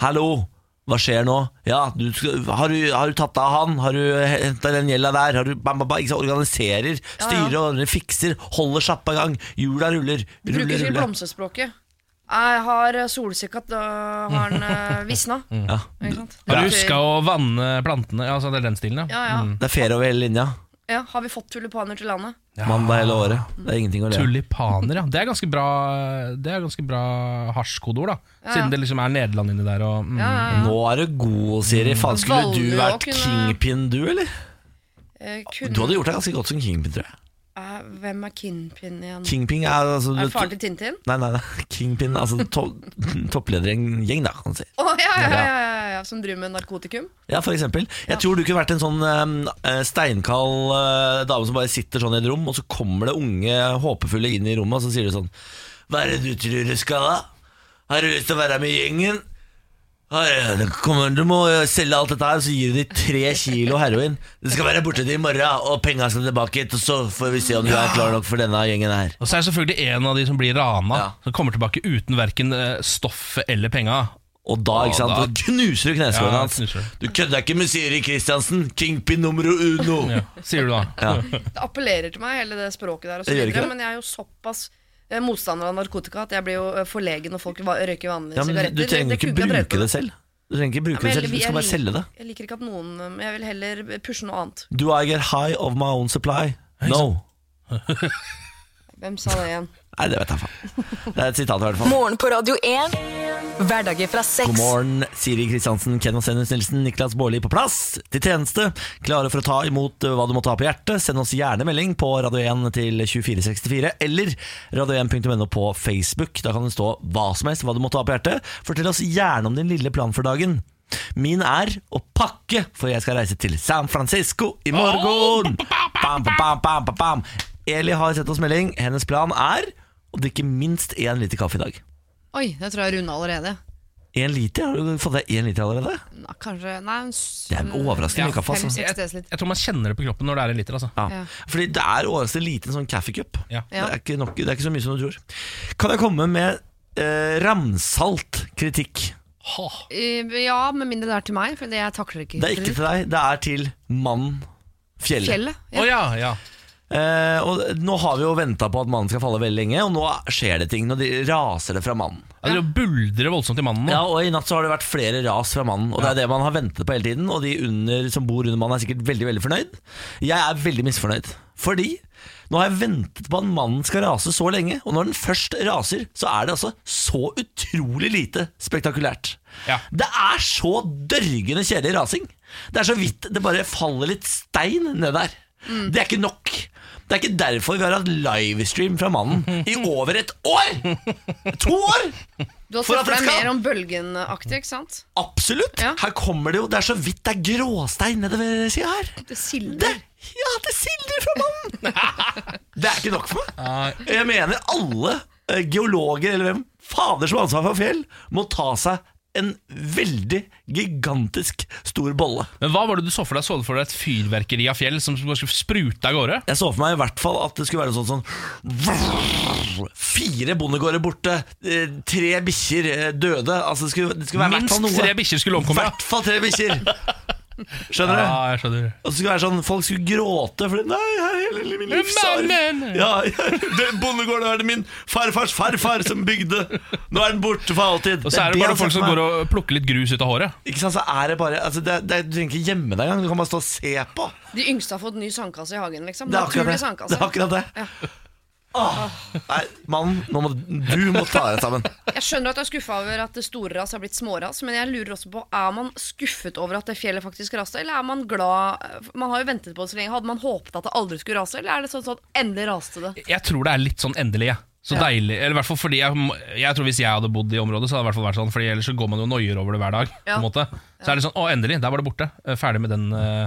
'Hallo, hva skjer nå?' 'Ja, du, skal- har, du, har du tatt av han? Har du henta den gjelda der?' Har du, bam, bam, bam, ikke sant? Organiserer, styrer, ordner, fikser, holder sjappa i gang. Hjula ruller,
Bruker
ruller,
ikke
ruller.
blomsterspråket. Jeg har solsikka, da har den eh, visna.
Ja.
Ikke sant?
Har du
Det betyr-
huska å vanne plantene? Ja, altså det er den stilen, ja.
Ja, ja.
Det er ferie over hele linja.
ja. Har vi fått tulipaner til landet?
Mandag hele året.
Mm.
Det er ingenting å le av.
Tulipaner, ja. Det er ganske bra Det er ganske bra hasjkodeord, da.
Ja, ja.
Siden det liksom er Nederland inni der og mm.
Ja, ja, ja.
Nå er du god, Siri. Faen, skulle
Valgte
du
å
vært
Mm. kunne-
kingpin, du, eller?
Eh,
Du
kunne,
hadde gjort deg ganske godt som kingpin, tror jeg.
Eh, hvem er Kinpin igjen?
Kingpin er altså
Er det faren til Tintin?
Nei, nei, nei. Kingpin, altså to toppleder i en gjeng, da, kan du si.
Å ja, ja, ja, ja, ja, ja, som driver med narkotikum?
Ja, for eksempel. Jeg tror du kunne vært en sånn eh, steinkald eh, dame som bare sitter sånn i et rom, og så kommer det unge, håpefulle inn i rommet, og så sier du sånn Hva er det du tror du skal, da? Har du lyst til å være med i gjengen? Har jeg- Kom, igjen, du må selge alt dette her, så gir du de tre kilo heroin. Du skal være borte til i morgen, og penga skal tilbake hit, og så får vi se om du er klar nok for denne gjengen her.
Og så er det selvfølgelig en av de som blir rana,
Ja.
som kommer tilbake uten verken stoffet eller penga.
Og da, ikke sant,
Å, da-
da knuser du kneskålen
Ja,
hans.
knuser.
Du kødder ikke med Siri Kristiansen, kingpin nummer uno.
Ja, sier du da.
Det appellerer til meg, hele det språket der. Og så
Det gjør
videre,
ikke det.
men jeg er jo såpass eh, motstander av narkotika at jeg blir jo eh, forlegen når folk va- røyker vanlige
Ja, men
sigaretter.
du trenger ikke bruke det selv. Du trenger ikke bruke det selv,
jeg,
du skal bare selge det.
liker, jeg liker ikke at noen eh, Jeg vil heller pushe noe annet.
Do I get high of my own supply? No.
Hvem sa det igjen?
Nei, det vet jeg faen. Det er et sitat i hvert fall.
Morgen på Radio 1. Hverdager fra
God
seks.
morgen, Siri Kristiansen, Ken Vasenius Nilsen, Niklas Baarli på plass til tjeneste. Klare for å ta imot eh, hva du måtte ha på hjertet. Send oss gjerne melding på radio1 til 2464 eller radio1.no på Facebook. Da kan det stå hva som helst, hva du måtte ha på hjertet. Fortell oss gjerne om din lille plan for dagen. Min er å pakke, for jeg skal reise til San Francisco i morgen. Bam, bam, bam, bam, bam, bam. Eli har sett oss melding. Hennes plan er å drikke minst én liter kaffe i dag.
Oi, det tror jeg runda allerede.
Én liter? Har du fått deg én liter allerede?
Nei, kanskje Nei, en s-
Det er overraskende mye kaffe, altså.
Fem-seks
Jeg,
desiliter.
jeg tror man kjenner det på kroppen når det er en liter, altså.
Ja. Fordi det er overraskende liten sånn kaffecup.
Ja.
Det, er ikke nok- det er ikke så mye som du tror. Kan jeg komme med eh, ramsalt kritikk?
Ha.
Eh, Ja, med mindre det er til meg, for det- jeg takler ikke
Det er ikke til deg, det er til mannen Fjellet.
fjellet.
Å ja, ja.
Eh, og nå har vi jo venta på at mannen skal falle veldig lenge, og nå skjer det ting. Nå de raser det fra mannen.
Ja, Det buldrer voldsomt i mannen nå.
Ja, og I natt så har det vært flere ras fra mannen, og det er det man har ventet på hele tiden. Og de under, som bor under mannen, er sikkert veldig veldig fornøyd. Jeg er veldig misfornøyd. Fordi nå har jeg ventet på at mannen skal rase så lenge, og når den først raser, så er det altså så utrolig lite spektakulært.
Ja.
Det er så dørgende kjedelig rasing. Det er så vidt det bare faller litt stein ned der.
Mm.
Det er ikke nok. Det er ikke derfor vi har hatt livestream fra mannen i over et år! To år!
Du har
For
snakket
at det
deg
skal-
mer om bølgenaktig, ikke sant?
Absolutt!
Ja.
Her kommer det jo Det er så vidt det er gråstein nedover sida her.
Det sildrer.
Der! Ja, det sildrer fra mannen! det er ikke nok for meg.
Nei.
Jeg mener alle eh, geologer eller hvem fader som har ansvar for fjell, må ta seg en veldig gigantisk stor bolle.
Men hva var det du så for deg? Så du for deg et fyrverkeri av fjell som bare skulle sprute av gårde?
Jeg så for meg i hvert fall at det skulle være sånn sånn Fire bondegårder borte, eh, tre bikkjer eh, døde Altså det skulle, det skulle være i hvert
Minst
fall noe.
tre bikkjer skulle
I
omkomme. ja.
hvert fall tre bikkjer. Skjønner du?
Ja, jeg skjønner.
Og så skulle det være sånn, Folk skulle gråte fordi Nei, her er hele min livsarv.
Mannen!
Ja, ja, den bondegården er det min farfars farfar som bygde. Nå er den borte for alltid.
Og så er det bare folk som går
og
og plukker litt grus ut av håret.
Ikke sant, så er det bare altså, det, det, Du trenger ikke gjemme deg engang. Du kan bare stå og se på.
De yngste har fått ny sandkasse i hagen, liksom.
Det er akkurat
Naturlig
altså.
det. det,
sandkasse.
er akkurat det. Nei, mann, nå må, du må ta deg sammen.
Jeg skjønner at du er skuffa over at det store ras har blitt småras, men jeg lurer også på er man skuffet over at det fjellet faktisk raste, eller er man glad Man har jo ventet på det så lenge. Hadde man håpet at det aldri skulle rase, eller er det sånn sånn endelig raste det?
Jeg tror det er litt sånn endelig, jeg. Så deilig, eller i hvert fall fordi jeg, må- jeg tror Hvis jeg hadde bodd i området, Så hadde det i hvert fall vært sånn Fordi ellers så går man jo noier over det hver dag. På
Ja.
en måte Så er det sånn Å, endelig! Der var det borte. Eh, Ferdig med den eh,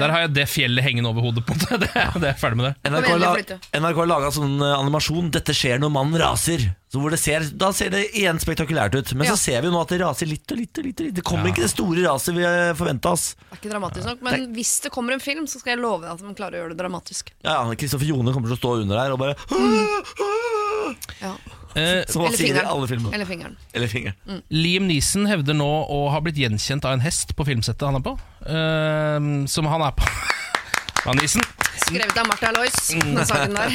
Der har jeg det fjellet hengende over hodet, på en måte. Det, det er jeg ferdig med det.
NRK,
Kom igjen,
la,
flytte.
NRK laga sånn eh, animasjon 'Dette skjer når mannen raser'. Så hvor det ser, da ser det igjen spektakulært ut. Men
Ja.
så ser vi jo nå at det raser litt og litt. og litt, og litt. Det kommer ikke det store raset vi forventa oss.
Det er ikke dramatisk nok, men hvis det kommer en film, så skal jeg love deg at man klarer å gjøre det dramatisk.
Ja, ja, Kristoffer Jone kommer til å stå under der og bare
Ja.
Eh,
Som han
Eller
sier i
fingeren.
alle filmer.
Eller fingeren.
Eller fingeren.
Liam Neeson hevder nå å ha blitt gjenkjent av en hest på filmsettet han er på. Eh, som han er på. Ja, Neeson.
Skrevet av Martha Lois,
Mm.
den sangen der.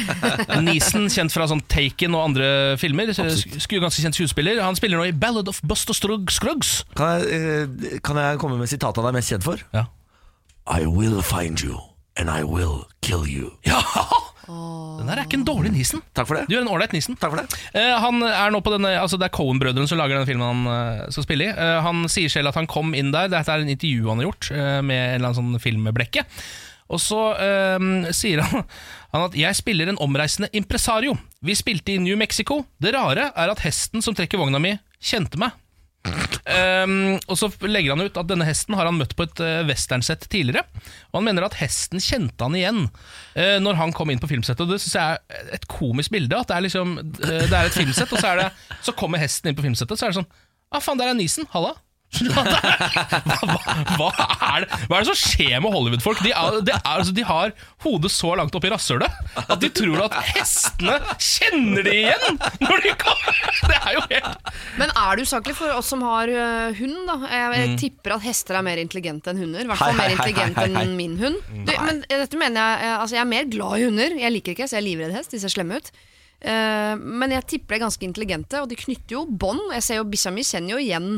Neeson, kjent fra sånn Taken og andre filmer. Sk sk- ganske kjent skuespiller. Han spiller nå i Ballad of Buster Strug Scruggs.
Kan jeg, eh, kan jeg komme med sitatet han er mest kjent for?
Ja.
I will find you, and I will kill you.
Den der er ikke en dårlig Neeson.
Takk for det.
Du er en ålreit Neeson.
Takk for det.
Eh, han er nå på denne, altså Det er Cohen-brødrene som lager denne filmen han eh, skal spille i. Eh, han sier selv at han kom inn der. Dette er en intervju han har gjort eh, med en eller annen sånn filmblekke. Og så eh, sier han, han at 'jeg spiller en omreisende impresario'. Vi spilte i New Mexico. Det rare er at hesten som trekker vogna mi, kjente meg. Ehm, og så legger han ut at denne hesten har han møtt på et uh, westernsett tidligere. Og han mener at hesten kjente han igjen eh, når han kom inn på filmsettet. Og det synes jeg er et komisk bilde. At det er liksom eh, Det er et filmsett, og så, er det, så kommer hesten inn på filmsettet, så er det sånn Ja, ah, faen, der er Nisen. Halla. hva, hva, hva, er det, hva er det som skjer med Hollywood-folk? De, er, det er, altså, de har hodet så langt opp i rasshølet at de tror at hestene kjenner de igjen når de kommer! Det er jo helt
Men er det usaklig for oss som har øh, hund, da? Jeg, jeg tipper at hester er mer intelligente enn hunder. I hvert fall
Mm.
mer
Hei, hei, hei,
intelligent
hei, hei. Mm.
enn min hund. Du, men eh, dette mener jeg eh, Altså, jeg er mer glad i hunder. Jeg liker ikke hest, jeg er livredd hest. De ser slemme ut. Eh, men jeg tipper de er ganske intelligente, og de knytter jo bånd. Jeg ser jo Bikkja mi kjenner jo igjen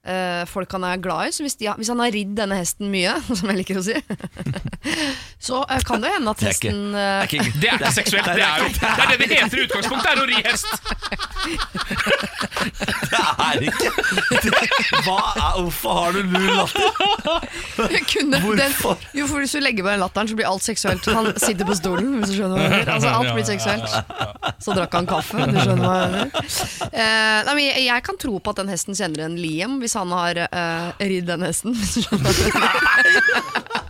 eh, folk han er glad i. Så hvis, de, har- hvis han har ridd denne hesten mye, som jeg liker å si, så eh, kan det hende at
Det er ikke-
hesten eh,
Det er ikke-
Det er ikke seksuelt, det er jo Det er det det heter i utgangspunktet, det er å ri hest.
Det er ikke det- Hva er, Hvorfor har du lur latter?
Jeg kunne
Hvorfor?
Den, jo, for Hvis du legger på den latteren, så blir alt seksuelt. Han sitter på stolen, hvis du skjønner hva jeg mener. Altså, alt blir seksuelt. Så drakk han kaffe, du skjønner hva jeg mener. Eh, nei, men jeg, jeg kan tro på at den hesten kjenner en Liam, hvis han har eh, ridd den hesten. hvis du skjønner hva jeg mener.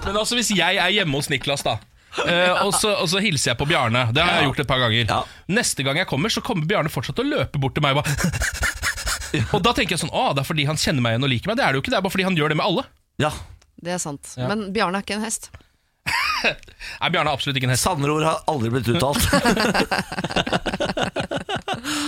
Men altså, hvis jeg er hjemme hos Niklas, da. eh, og, så, og så hilser jeg på Bjarne. Det har jeg gjort et par ganger.
Ja.
Neste gang jeg kommer, så kommer Bjarne fortsatt til å løpe bort til meg. Og, bare og da tenker jeg sånn Å, det er fordi han kjenner meg igjen og liker meg. Det er det jo ikke, det er bare fordi han gjør det med alle.
Ja,
Det er sant. Men Bjarne er ikke en hest.
Nei, Bjarne er absolutt ikke en hest.
Sandrord har aldri blitt uttalt.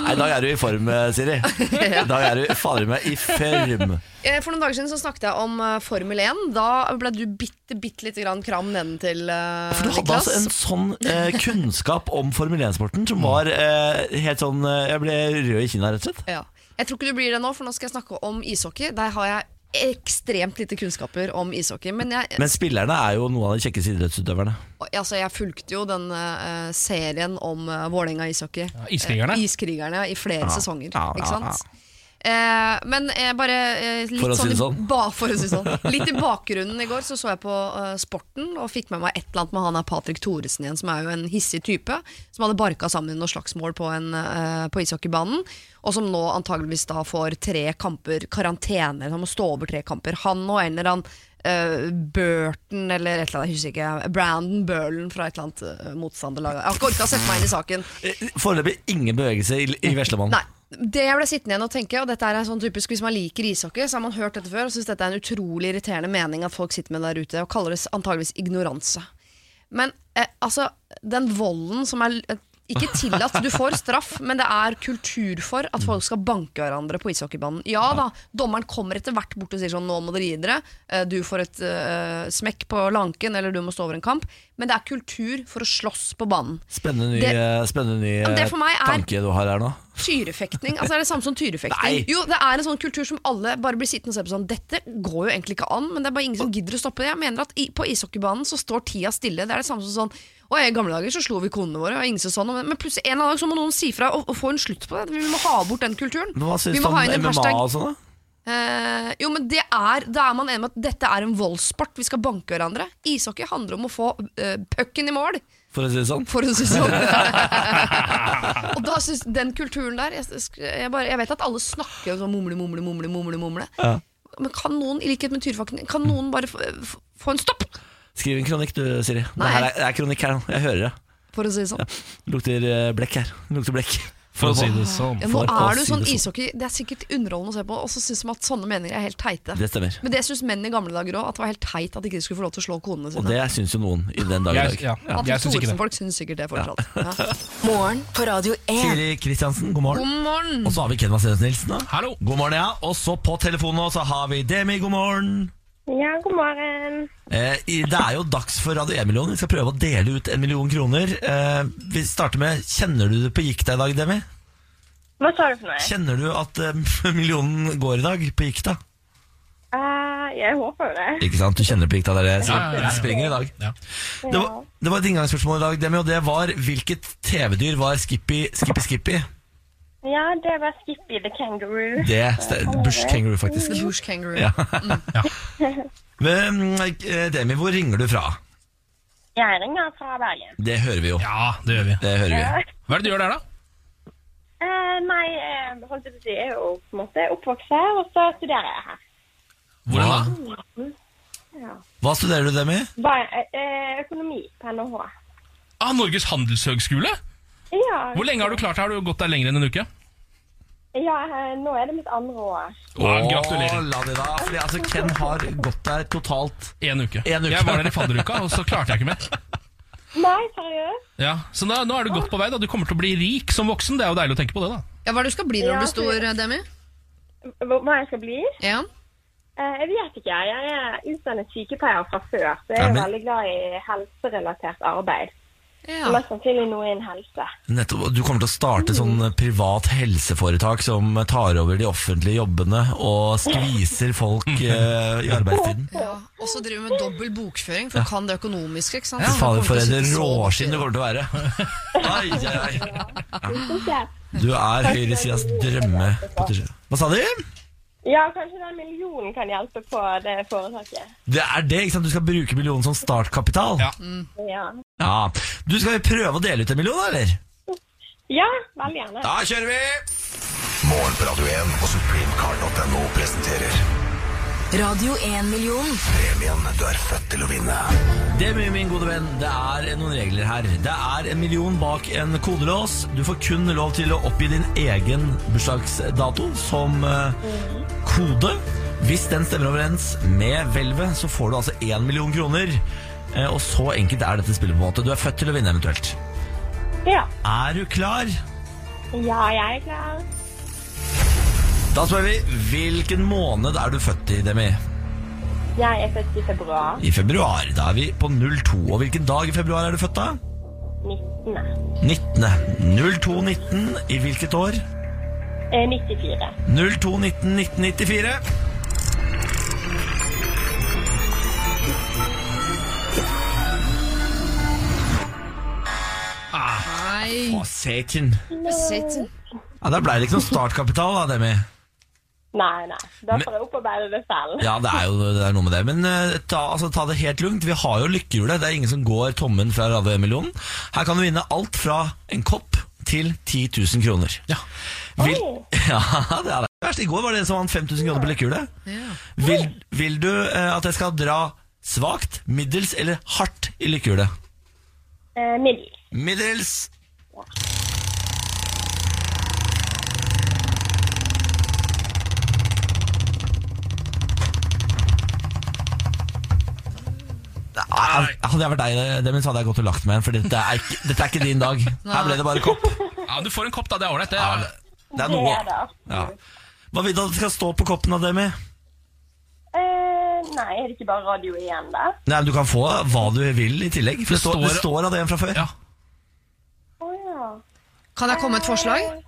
Nei, i dag er du i form, eh, Siri. I dag er du fader meg i form.
Eh, For noen dager siden så snakket jeg om eh, Formel 1. Da ble du bitte, bitte lite grann kram nedentil, eh,
For du hadde
Niklas.
altså en sånn eh, kunnskap om Formel 1-sporten som var eh, helt sånn eh, Jeg ble rød i kinna, rett og slett.
Ja. Jeg tror ikke du blir det nå, for nå skal jeg snakke om ishockey. Der har jeg ekstremt lite kunnskaper om ishockey. Men jeg,
Men spillerne er jo noen av de kjekkeste idrettsutøverne.
altså, jeg fulgte jo den eh, serien om uh, Vålerenga ishockey.
Iskrigerne.
Eh, iskrigerne i flere sesonger,
ja,
ikke
ja,
sant? Eh, men eh, bare eh, litt
For å si
sånn,
det
i
sånn.
Ba, for å si det sånn. Litt i bakgrunnen i går så, så jeg på eh, Sporten og fikk med meg et eller annet med han er Patrick Thoresen igjen, som er jo en hissig type. Som hadde barka sammen i noe slagsmål på, en, eh, på ishockeybanen. Og som nå antageligvis da får tre kamper karantene. Han må stå over tre kamper. Han og en eller annen eh, Burton eller et eller annet, jeg husker ikke. Brandon Burlen fra et eller annet eh, motstanderlag. Jeg har ikke orka å sette meg inn i saken.
Eh, Foreløpig ingen bevegelse i, i veslemannen.
Nei. Det jeg ble sittende igjen og tenke, og dette er en sånn typisk hvis man liker ishockey, så har man hørt dette før og syns dette er en utrolig irriterende mening at folk sitter med der ute, og kaller det antageligvis ignoranse. Men eh, altså, den volden som er eh, ikke tillatt, du får straff, men det er kultur for at folk skal banke hverandre på ishockeybanen. Ja da, dommeren kommer etter hvert bort og sier sånn 'nå må dere gi dere', eh, du får et eh, smekk på lanken, eller du må stå over en kamp, men det er kultur for å slåss på banen.
Spennende ny,
Det-
eh, spennende ny
men det
eh,
for meg er-
tanke du har her nå.
Tyrefektning. Altså, det er det samme som tyrefektning.
Nei.
Jo, det er en sånn kultur som alle bare blir sittende og se på sånn Dette går jo egentlig ikke an, men det er bare ingen som gidder å stoppe det. Jeg mener at i, på ishockeybanen så står tida stille. Det er det samme som sånn og I gamle dager så slo vi konene våre, og ingen sa sånn, men plutselig en eller annen dag så må noen si fra og, og få en slutt på det. Vi må ha bort den kulturen.
Men hva syns
Vi
du
må
om
ha inn en
MMA
hashtag.
og sånn, da?
Eh, jo, men det er, Da er man enig med at dette er en voldssport. Vi skal banke hverandre. Ishockey handler om å få eh, pucken i mål,
For å si det sånn.
for å si det sånn. og da synes den kulturen der Jeg, jeg, bare, jeg vet at alle snakker om sånn mumle, mumle, mumle, mumle, mumle.
Ja.
Men kan noen, i likhet med tyrfakten, kan noen bare få, få- få en stopp?
Skriv en kronikk du, Siri. Det,
Nei.
her er, det er kronikk her nå. Jeg hører det.
For å si det sånn.
Lukter eh, blekk her. Lukter blekk.
For å si det sånn.
Ja, nå
for å
er det jo
si
sånn
det sånn.
ishockey Det er sikkert underholdende å se på, og så syns man at sånne meninger er helt teite.
Det stemmer.
Men det syns menn i gamle dager òg, at det var helt teit at ikke de skulle få lov til å slå konene
Og
sine.
det syns jo noen i den dag i
Jeg,
dag.
ja,
At
jeg syns ikke det.
Thoresen-folk syns sikkert det fortsatt. Ja.
Morgen på Radio 1.
Siri Kristiansen, god morgen.
God morgen!
Og så har vi Kenvas Jensen Nilsen, da.
Hallo.
God morgen, ja. Og så på telefonen også har vi Demi, god morgen.
Ja, god morgen.
Eh, i- det er jo dags for Radio 1-million. Vi skal prøve å dele ut en million kroner. Eh, vi starter med Kjenner du det på gikta i dag, Demi?
Hva sa du for noe?
Kjenner du at eh, millionen går i dag på gikta?
Eh, jeg håper jo det.
Ikke sant? Du kjenner på gikta, det er det som
Ja, ja, ja.
det springer i dag.
Ja.
Det var, det var et inngangsspørsmål i dag, Demi, og det var hvilket TV-dyr var Skippy Skippy Skippy?
Ja, det var Skippy the Kangaroo.
Det ste- Bush Kangaroo, faktisk.
The Bush Kangaroo.
Ja. Men, eh, Demi, hvor ringer du fra?
Jeg ringer fra Bergen.
Det hører vi jo.
ja, det gjør vi.
Det hører vi.
Hva er det du gjør der, da?
Eh, nei, eh, holdt jeg på å si, jeg er jo på en måte oppvokst her, og så studerer jeg her.
Hvordan
Hva,
da?
hva studerer du, Demi?
Ba- eh, eh, økonomi på NHH.
Ah, Norges handelshøgskole?
Ja,
Hvor lenge har du klart det? Har du gått der lenger enn en uke?
ja eh, nå er det mitt andre år.
Ah, gratulerer.
Å, la det da. Fordi, altså, Ken har gått der totalt
En uke.
En uke.
Jeg var der i fadderuka, og så klarte jeg ikke mer.
Nei, seriøst?
Ja, Så da, nå er du godt på vei. da Du kommer til å bli rik som voksen. Det er jo deilig å tenke på det, da.
Ja, hva er det du skal bli når
Ja,
du blir stor, Demi?
Hva hva jeg skal bli?
Ja.
Eh, jeg vet ikke. Jeg er utdannet sykepleier fra før, så jeg
Ja,
er
men-
veldig glad i helserelatert arbeid.
ja.
Mest sannsynlig noe innen helse.
Nettopp, Du kommer til å starte sånn privat helseforetak som tar over de offentlige jobbene og skviser folk eh, i arbeidstiden.
ja. Og så driver vi med dobbel bokføring, for du kan det økonomiske. ikke sant? Så
Fy
du
fader,
kommer
for
til å
et
sitte så
råskinn du
godt i det.
kommer til å være. Ai, ai, ai.
Ja.
Du er høyresidas drømme. Hva sa du?
Ja, kanskje den millionen kan hjelpe på det foretaket.
Det er det, ikke sant? Du skal bruke millionen som startkapital?
Ja.
Ja,
Ja. Du, skal vi prøve å dele ut en million, da, eller?
ja veldig gjerne.
Da kjører vi!
Morgen på Radio 1 og supremecard.no presenterer
Radio 1-million.
premien du er født til å vinne.
Det min, min gode venn, det er noen regler her. Det er en million bak en kodelås. Du får kun lov til å oppgi din egen bursdagsdato som eh, kode. Hvis den stemmer overens med hvelvet, så får du altså én million kroner. Eh, og så enkelt er dette spillet. på en måte. Du er født til å vinne, eventuelt.
Ja,
Er du klar?
ja jeg er klar.
Da spør vi hvilken måned er du født i, Demi?
Jeg er født i februar
I februar. Da er vi på 02. Og hvilken dag i februar er du født, da?
19.
19. 0219. I hvilket år?
Eh, 94.
02191994.
Nei,
Å, satan.
sitt.
Ja, Da ble det ikke noe startkapital, da, Demi.
Nei, nei. Da får jeg opparbeide det selv.
Ja, det er jo det er noe med det. Men eh, ta, altså, ta det helt lugnt. Vi har jo lykkehjulet. Det er ingen som går tommen fra Radio 1-millionen. Her kan du vinne alt fra en kopp til 10 000 kroner. Ja. Vil, ja, det er det. Verst i går var det en som vant 5000 kroner på lykkehjulet.
Ja.
Vil, vil du eh, at jeg skal dra svakt, middels eller hardt i lykkehjulet?
Eh, middel.
Middels. Ah, Hadde jeg vært deg, Demin, så hadde jeg gått og lagt meg igjen. For dette er, ikke, dette er ikke din dag. Her ble det bare kopp.
Ja, Du får en kopp, da. Det er ålreit. det
Ja,
er-
det, det er
Det
noe.
er det.
Ja. Hva vil du at det skal stå på koppen av Demi?
Eh, nei, er det ikke bare radio igjen, da?
Nei, men Du kan få hva du vil i tillegg. For
Det
det, står, det
står-
står av det en fra før.
Ja.
Å ja.
Kan jeg komme med et forslag?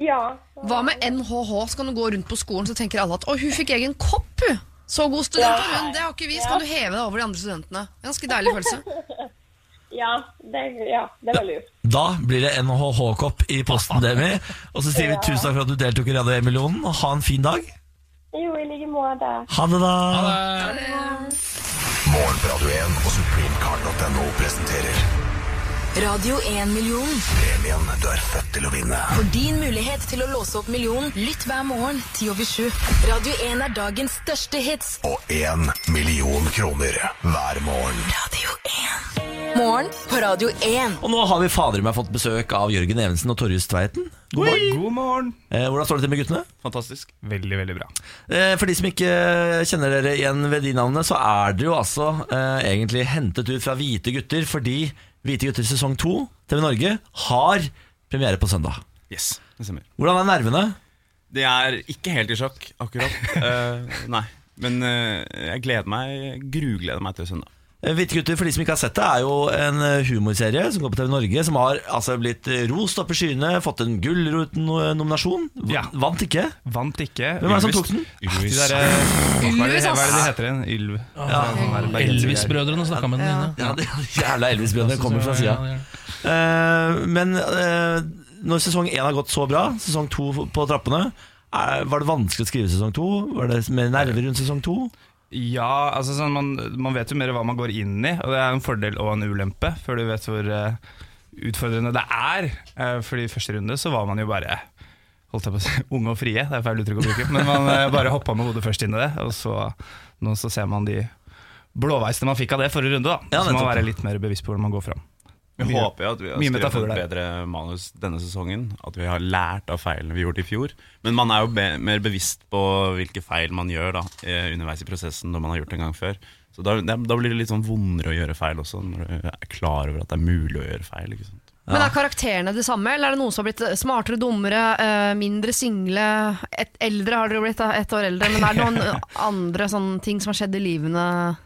Ja.
Hva med NHH? Så kan du gå rundt på skolen, så tenker alle at å, hun fikk egen kopp, hun. Så god student var hun, det har ikke vi. Så kan du heve deg over de andre studentene. Ganske deilig følelse.
Ja, det, ja, det var lurt.
Da blir det NHH-kopp i posten, Demi. Og så sier vi tusen takk for at du deltok i Radio 1-millionen. Ha en fin dag.
Jo, i like måte.
Ha det, da.
Eh,
Morgen på Radio 1 og supremecard.no presenterer
Radio 1-millionen.
premien du er født til å vinne.
For din mulighet til å låse opp millionen, lytt hver morgen 10 over 7. Radio 1 er dagens største hits.
Og én million kroner hver morgen.
Radio 1. Morgen på Radio 1.
Og nå har vi fader i meg fått besøk av Jørgen Evensen og Torjus Tveiten. God dag.
God morgen.
Eh, hvordan står det til med guttene?
Fantastisk. Veldig, veldig bra.
Eh, For de som ikke kjenner dere igjen ved de navnene, så er det jo altså eh, egentlig hentet ut fra Hvite gutter, fordi Hvite gutter sesong 2, TV Norge, har premiere på søndag.
Yes, det stemmer.
Hvordan er nervene?
Det er ikke helt i sjokk, akkurat. Eh, nei. Men eh, jeg gleder meg, grugleder meg til søndag.
Eh, Hvite gutter, for de som ikke har sett det, er jo en eh, humorserie som går på TV Norge, som har altså blitt eh, rost opp i skyene, fått en Gullruten-nominasjon. V-
Ja.
Vant ikke.
Vant ikke. Ah,
Hvem er det som tok den?
De der, eh, hva, er det,
Ylvis,
hva er det de
ass.
heter igjen? Ylv.
Elvis-brødrene snakka med den ene.
Ja, de jævla Elvis-brødrene kommer fra sida. Eh, men eh, når sesong én har gått så bra, sesong to på trappene er, Var det vanskelig å skrive sesong to? Var det mer nerver rundt sesong to?
Ja, altså sånn, man, man vet jo mer hva man går inn i, og det er en fordel og en ulempe, før du vet hvor eh, utfordrende det er. Uh, fordi i første runde så var man jo bare holdt jeg på å si, unge og frie, det er feil uttrykk å bruke, men man eh, bare hoppa med hodet først inn i det, og så, nå så ser man de blåveisene man fikk av det forrige runde, da.
Ja,
så må man
nettopp.
være litt mer bevisst på hvordan man går fram.
Vi
Mye-
håper jo at vi har
mye
skrevet
metaforer
et
der.
bedre manus denne sesongen. At vi har lært av feilene vi gjorde i fjor. Men man er jo be mer bevisst på hvilke feil man gjør da, eh, underveis i prosessen når man har gjort det en gang før. Så da, da blir det litt sånn vondere å gjøre feil også, når du eh, er klar over at det er mulig å gjøre feil. ikke sant?
Men er karakterene det samme, eller er det noen som har blitt smartere, dummere, eh, mindre single? Et, eldre har dere jo blitt, da, ett år eldre. Men er det noen eh, andre sånne ting som har skjedd i livene?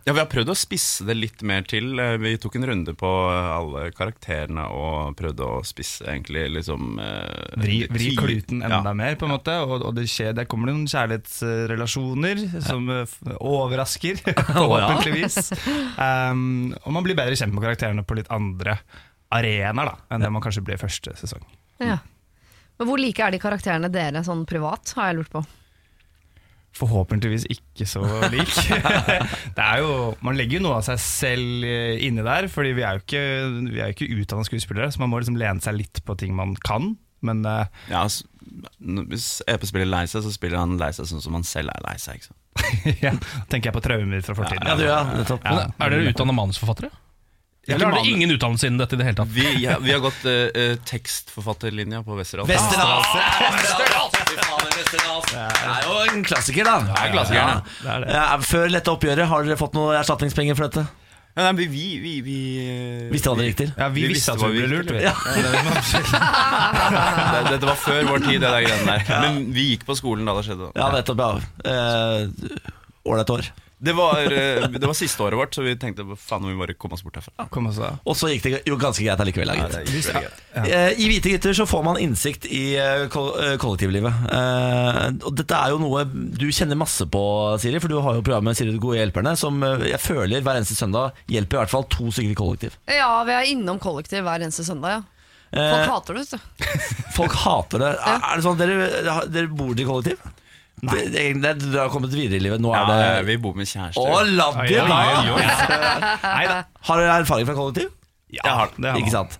Ja, Vi har prøvd å spisse det litt mer til. Eh, Vi tok en runde på eh, alle karakterene og prøvde å spisse egentlig liksom eh,
Vri, vri
ti-
kluten enda
Ja.
mer, på en måte. Og, og det skjer, der kommer det noen kjærlighetsrelasjoner som eh, f- overrasker, forhåpentligvis. um, og man blir bedre kjent med karakterene på litt andre arenaer da, enn det man kanskje ble første sesong.
Ja. Men hvor like er de karakterene dere sånn privat, har jeg lurt på.
Forhåpentligvis ikke så lik. det er jo, man legger jo noe av seg selv eh, inni der, fordi vi er jo ikke, vi er jo ikke utdanna skuespillere, så man må liksom lene seg litt på ting man kan. Men eh,
Ja, s- n- Hvis EP spiller lei seg, så spiller han lei seg sånn som han selv er lei seg. ikke sant?
ja, tenker jeg på traumer fra fortiden.
Ja, du, ja, nettopp.
Men Er dere utdanna manusforfattere? Eller har dere
manu-
ingen utdannelse innen dette i det hele tatt?
Vi, ja, vi har gått eh, eh, tekstforfatterlinja på Westerdal.
Westerdals! Westerdals! Fy faen, Westerdals! Det er jo en klassiker, da. Det
er klassikeren, ja.
Det er det.
Ja, Eh, Før dette oppgjøret, har dere fått noe erstatningspenger for dette?
Ja, nei, vi, vi, vi, eh, vi
Hvis dere hadde riktig.
Ja, vi, visste at
hva
vi ble lurt.
gikk
vi.
til. Det, dette var før vår tid, det der greiene der. Men vi gikk på skolen da det skjedde. Da.
Ja, nettopp, ja. Eh, Ålreit år.
Det, var, eh, det var siste året vårt, så vi tenkte faen om vi bare komme oss bort herfra.
Kom altså. også.
Og så gikk det jo ganske greit allikevel. da,
Ja,
gitt.
det gikk veldig greit.
Eh, I Hvite gutter så får man innsikt i eh, kol- eh, kollektivlivet. Eh, Og dette er jo noe du kjenner masse på, Siri, for du har jo programmet Siri de gode hjelperne, som eh, jeg føler hver eneste søndag hjelper i hvert fall to stykker i kollektiv.
Ja, vi er innom kollektiv hver eneste søndag, ja. Folk
Eh,
hater det, vet du.
folk hater det. Er er det sånn at dere, dere bor i kollektiv? Nei. Dere dere har kommet videre i livet. Nå
Ja,
er
ja,
det
vi bor med kjærester.
Å, ladde,
Oi, oi, oi, oi.
da! Har dere erfaring fra kollektiv?
Jeg har det.
det har
Ikke
man.
sant?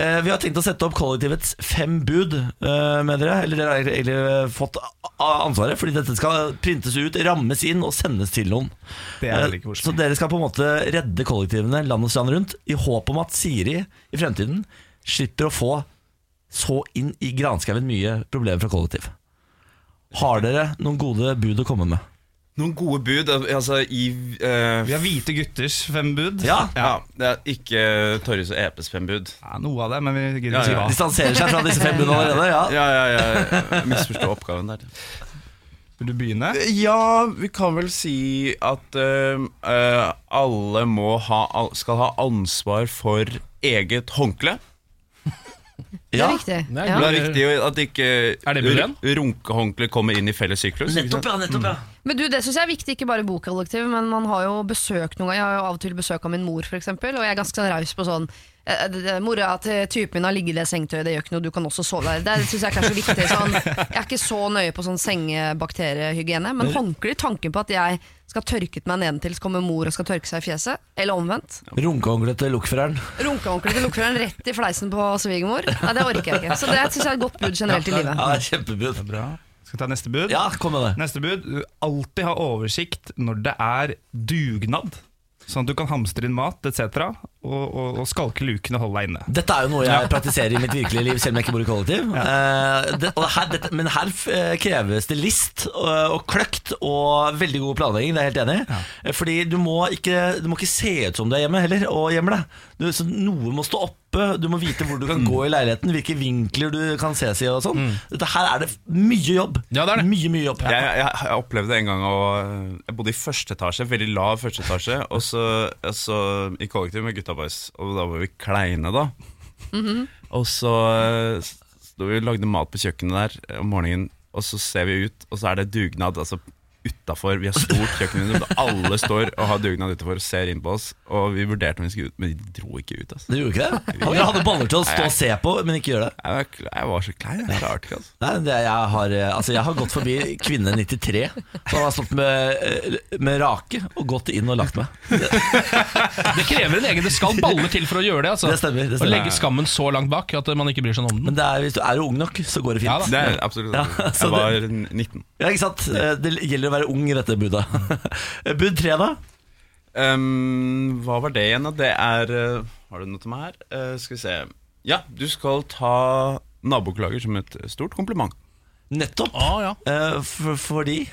Eh, vi har tenkt å sette opp kollektivets fem bud eh, med dere. Eller dere har egentlig eh, fått a- ansvaret, fordi dette skal printes ut, rammes inn og sendes til noen. Eh,
Det er veldig koselig.
så dere skal på en måte redde kollektivene land og strand rundt, i håp om at Siri i fremtiden slipper å få så inn i granskauen mye problemer fra kollektiv. Har dere noen gode bud å komme med?
Noen gode bud altså, i eh,
Vi har hvite gutters fem bud.
Ja,
ja, det er Ikke Torjus og EPs fem bud.
Ja, noe av det, men vi
Ja,
gidder ikke si
ja.
hva.
Distanserer seg fra disse fem budene allerede? Ja.
Ja, ja, ja. Jeg misforstår oppgaven der.
Vil du begynne?
Ja, vi kan vel si at eh, eh, alle må ha, al- skal ha ansvar for eget håndkle.
Det
Ja.
er viktig.
Nei,
ja.
Men Det er viktig jo at ikke
Er det bølgen?
ru- runkehåndkle kommer inn i felles syklus. ikke sant?
Nettopp, ja. nettopp, ja
Men du, Det syns jeg er viktig, ikke bare i bokollektiv, men man har jo besøk noen ganger. Jeg har jo av og til besøk av min mor, for eksempel, og jeg er ganske sånn raus på sånn eh, det- det- Mora til typen min har ligget i det sengetøyet, det gjør ikke noe, du kan også sove der. Det syns jeg kanskje er viktig. Sånn, jeg er ikke så nøye på sånn sengebakteriehygiene, men håndkle i tanken på at jeg skal ha tørket meg nedentil, så kommer mor og skal tørke seg i fjeset. Eller omvendt.
Runkehåndkle til lokføreren.
Runkehåndkle til lukkeren rett i fleisen på svigermor. Nei, det orker jeg ikke. Så det syns jeg er et godt bud generelt i livet.
Ja, det er kjempebud.
Bra. Skal vi ta neste bud?
Ja, kom med det.
Neste bud. du Alltid ha oversikt når det er dugnad. Sånn at du kan hamstre inn mat etc. Og, og, og skalke lukene og holde deg inne.
Dette er jo noe jeg praktiserer i mitt virkelige liv, selv om jeg ikke bor i kollektiv. Eh, det, og her, dette, men her eh, kreves det list og, og kløkt og veldig god planlegging, det er jeg helt enig i. Eh, Fordi du må, ikke, du må ikke se ut som du er hjemme heller, og gjemmer deg. Du, så noe må stå oppe, du må vite hvor du
Mm.
kan gå i leiligheten, hvilke vinkler du kan ses i og sånn. Dette her er det f- mye jobb.
Ja, det er det.
Mye, mye jobb.
Jeg, jeg, jeg opplevde en gang å Jeg bodde i første etasje, veldig lav første etasje, og så, så i kollektiv med gutta boys, og da var vi kleine, da. Og så sto vi og lagde mat på kjøkkenet der eh, om morgenen, og så ser vi ut, og så er det dugnad. altså Utenfor, Vi har stort kjøkkenvindu, men alle står og har dugnad utenfor og ser inn på oss. Og vi vurderte om vi skulle ut, men de dro ikke ut. altså
Du gjorde ikke det? Dere hadde baller til å stå og se på, men ikke gjøre det.
Jeg var, jeg var så klein. Jeg klarte ikke, altså.
Nei, det, jeg, har, eh, altså, jeg har gått forbi kvinne 93 som har stått med, eh, med rake og gått inn og lagt meg.
Det krever en egen Det skal balle til for å gjøre det. Altså.
Det stemmer, det
Å
stemmer.
legge skammen så langt bak at man ikke bryr seg om den.
Men det er, hvis du er jo ung nok, så går det
Ja da.
fint.
Det er absolutt
Ja,
sant.
så
Jeg var 19.
Ja, ikke sant? Eh, Det gjelder å være ung i dette budet. Bud tre, da?
Ehm, hva var det igjen? da? Det er eh, Har du noe til meg her? Eh, skal vi se. Ja, du skal ta naboklager som et stort kompliment.
Nettopp.
Ah, ja.
Eh, for, fordi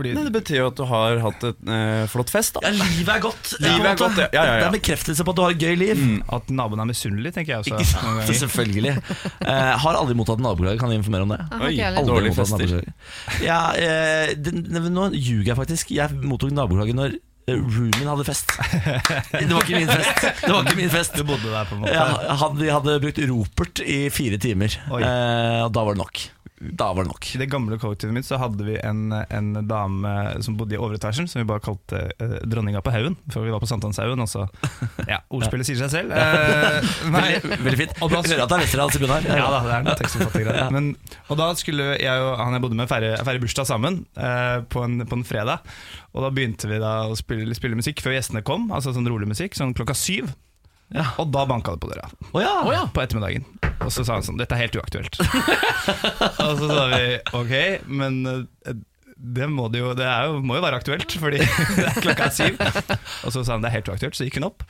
Fordi
Nei, det betyr jo at du har hatt et eh, flott fest, da.
ja, livet er godt. eh,
Livet
på en
er
måte.
godt, ja. Ja, Mm. ja, ja.
Det er en bekreftelse på at du har et gøy liv.
At naboen er misunnelig, tenker jeg også.
Ikke sant?
noen ganger.
Selvfølgelig. Eh, har aldri mottatt nabolag, kan jeg informere om det?
Aha, ikke heller.
Aldri
dårlige
mottatt
fester.
naboklager. Ja, eh, det, ne- nå ljuger jeg faktisk. Jeg mottok naboklager når eh, roomien hadde fest. Det var ikke min fest. Det var ikke min fest.
Du bodde der, på en måte.
Ja, han, de hadde brukt Ropert i fire timer,
Oi.
eh, og da var det nok. Da var det nok.
I det gamle kollektivet mitt så hadde vi en, en dame som bodde i overetasjen, som vi bare kalte eh, dronninga på haugen, før vi var på Sankthanshaugen. og så- Ja, ordspillet sier seg selv. Eh, nei,
Veldig, veldig fint.
Og da-
Hører at det er Westerdals i bunnen her.
Ja da, det er noe tekstforfattig greier. Men, og da skulle jeg og han jeg bodde med feire, feire bursdag sammen eh, på, en, på en fredag. Og da begynte vi da å spille, spille musikk før gjestene kom, altså sånn rolig musikk, sånn klokka syv. Og da banka det på døra
Å ja.
på ettermiddagen. Og så sa han sånn Dette er helt uaktuelt. og så sa vi ok, men eh, det, må det, jo, det er jo, må jo være aktuelt, fordi det er klokka er syv. Og så sa han det er helt uaktuelt, så gikk hun opp.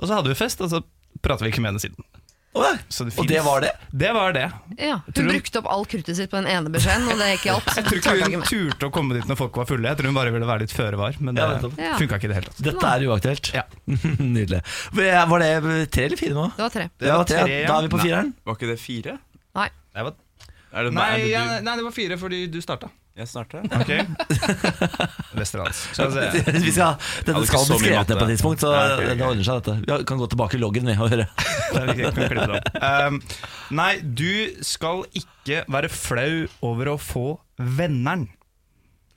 Og så hadde vi fest, og så prater vi ikke med henne siden.
Å, ja.
Så det
Og det
finnes-
var det?
Det var det.
Ja,
Tror
Hun
du-
brukte opp all kruttet sitt på den ene beskjeden, og det ikke hjalp.
Jeg tror ikke hun turte å komme dit når folk var fulle. Jeg tror hun bare ville være litt føre var, men det
Ja, nettopp.
Ja.
funka ikke i det hele tatt.
Dette er uaktuelt.
Ja.
Nydelig. Var det tre eller fire nå?
Det var tre.
Det var tre.
tre, ja.
Da er vi på fireren.
Var ikke det fire?
Nei.
Det var-
Er det,
Nei,
er det du,
ja, nei, det var fire fordi du starta.
Jeg starter.
Ok Vesterdals. Så altså,
Vi skal,
Jeg hadde
dette
ikke
skal
så
bli
mye
skrevet
matte.
ned på et tidspunkt, så
Ja, ok, ok.
det ordner seg, dette. Vi kan gå tilbake i loggen vi, og høre.
det er ikke- kan klippe det opp. Um, nei, du skal ikke være flau over å få venneren.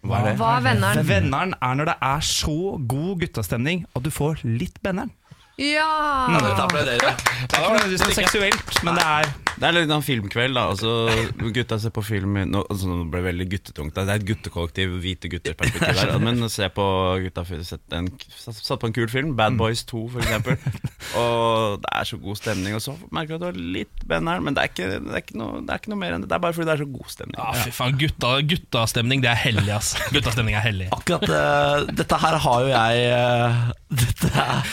Hva er
Hva er venneren?
Venneren er når det er så god guttastemning at du får litt benneren.
Ja!
Det er ikke nødvendigvis noe seksuelt, men det er
Det er litt av en filmkveld, da. Altså, gutta ser på film Nå, altså, nå ble det veldig guttetungt. Det er et guttekollektiv, hvite gutter-perspektiv der. Men se på gutta sett en, Satt på en kul film,
Mm.
Bad Boys 2 for eksempel. Og det er så god stemning. Og så merker du at du har litt benneren, men det er, ikke, det, er ikke noe, det er ikke noe mer enn det. Det er bare fordi det er så god stemning.
Ja, fy faen, gutta, guttastemning, det er hellig, ass. Guttastemning er hellig.
Akkurat eh, dette her har jo jeg eh, Dette er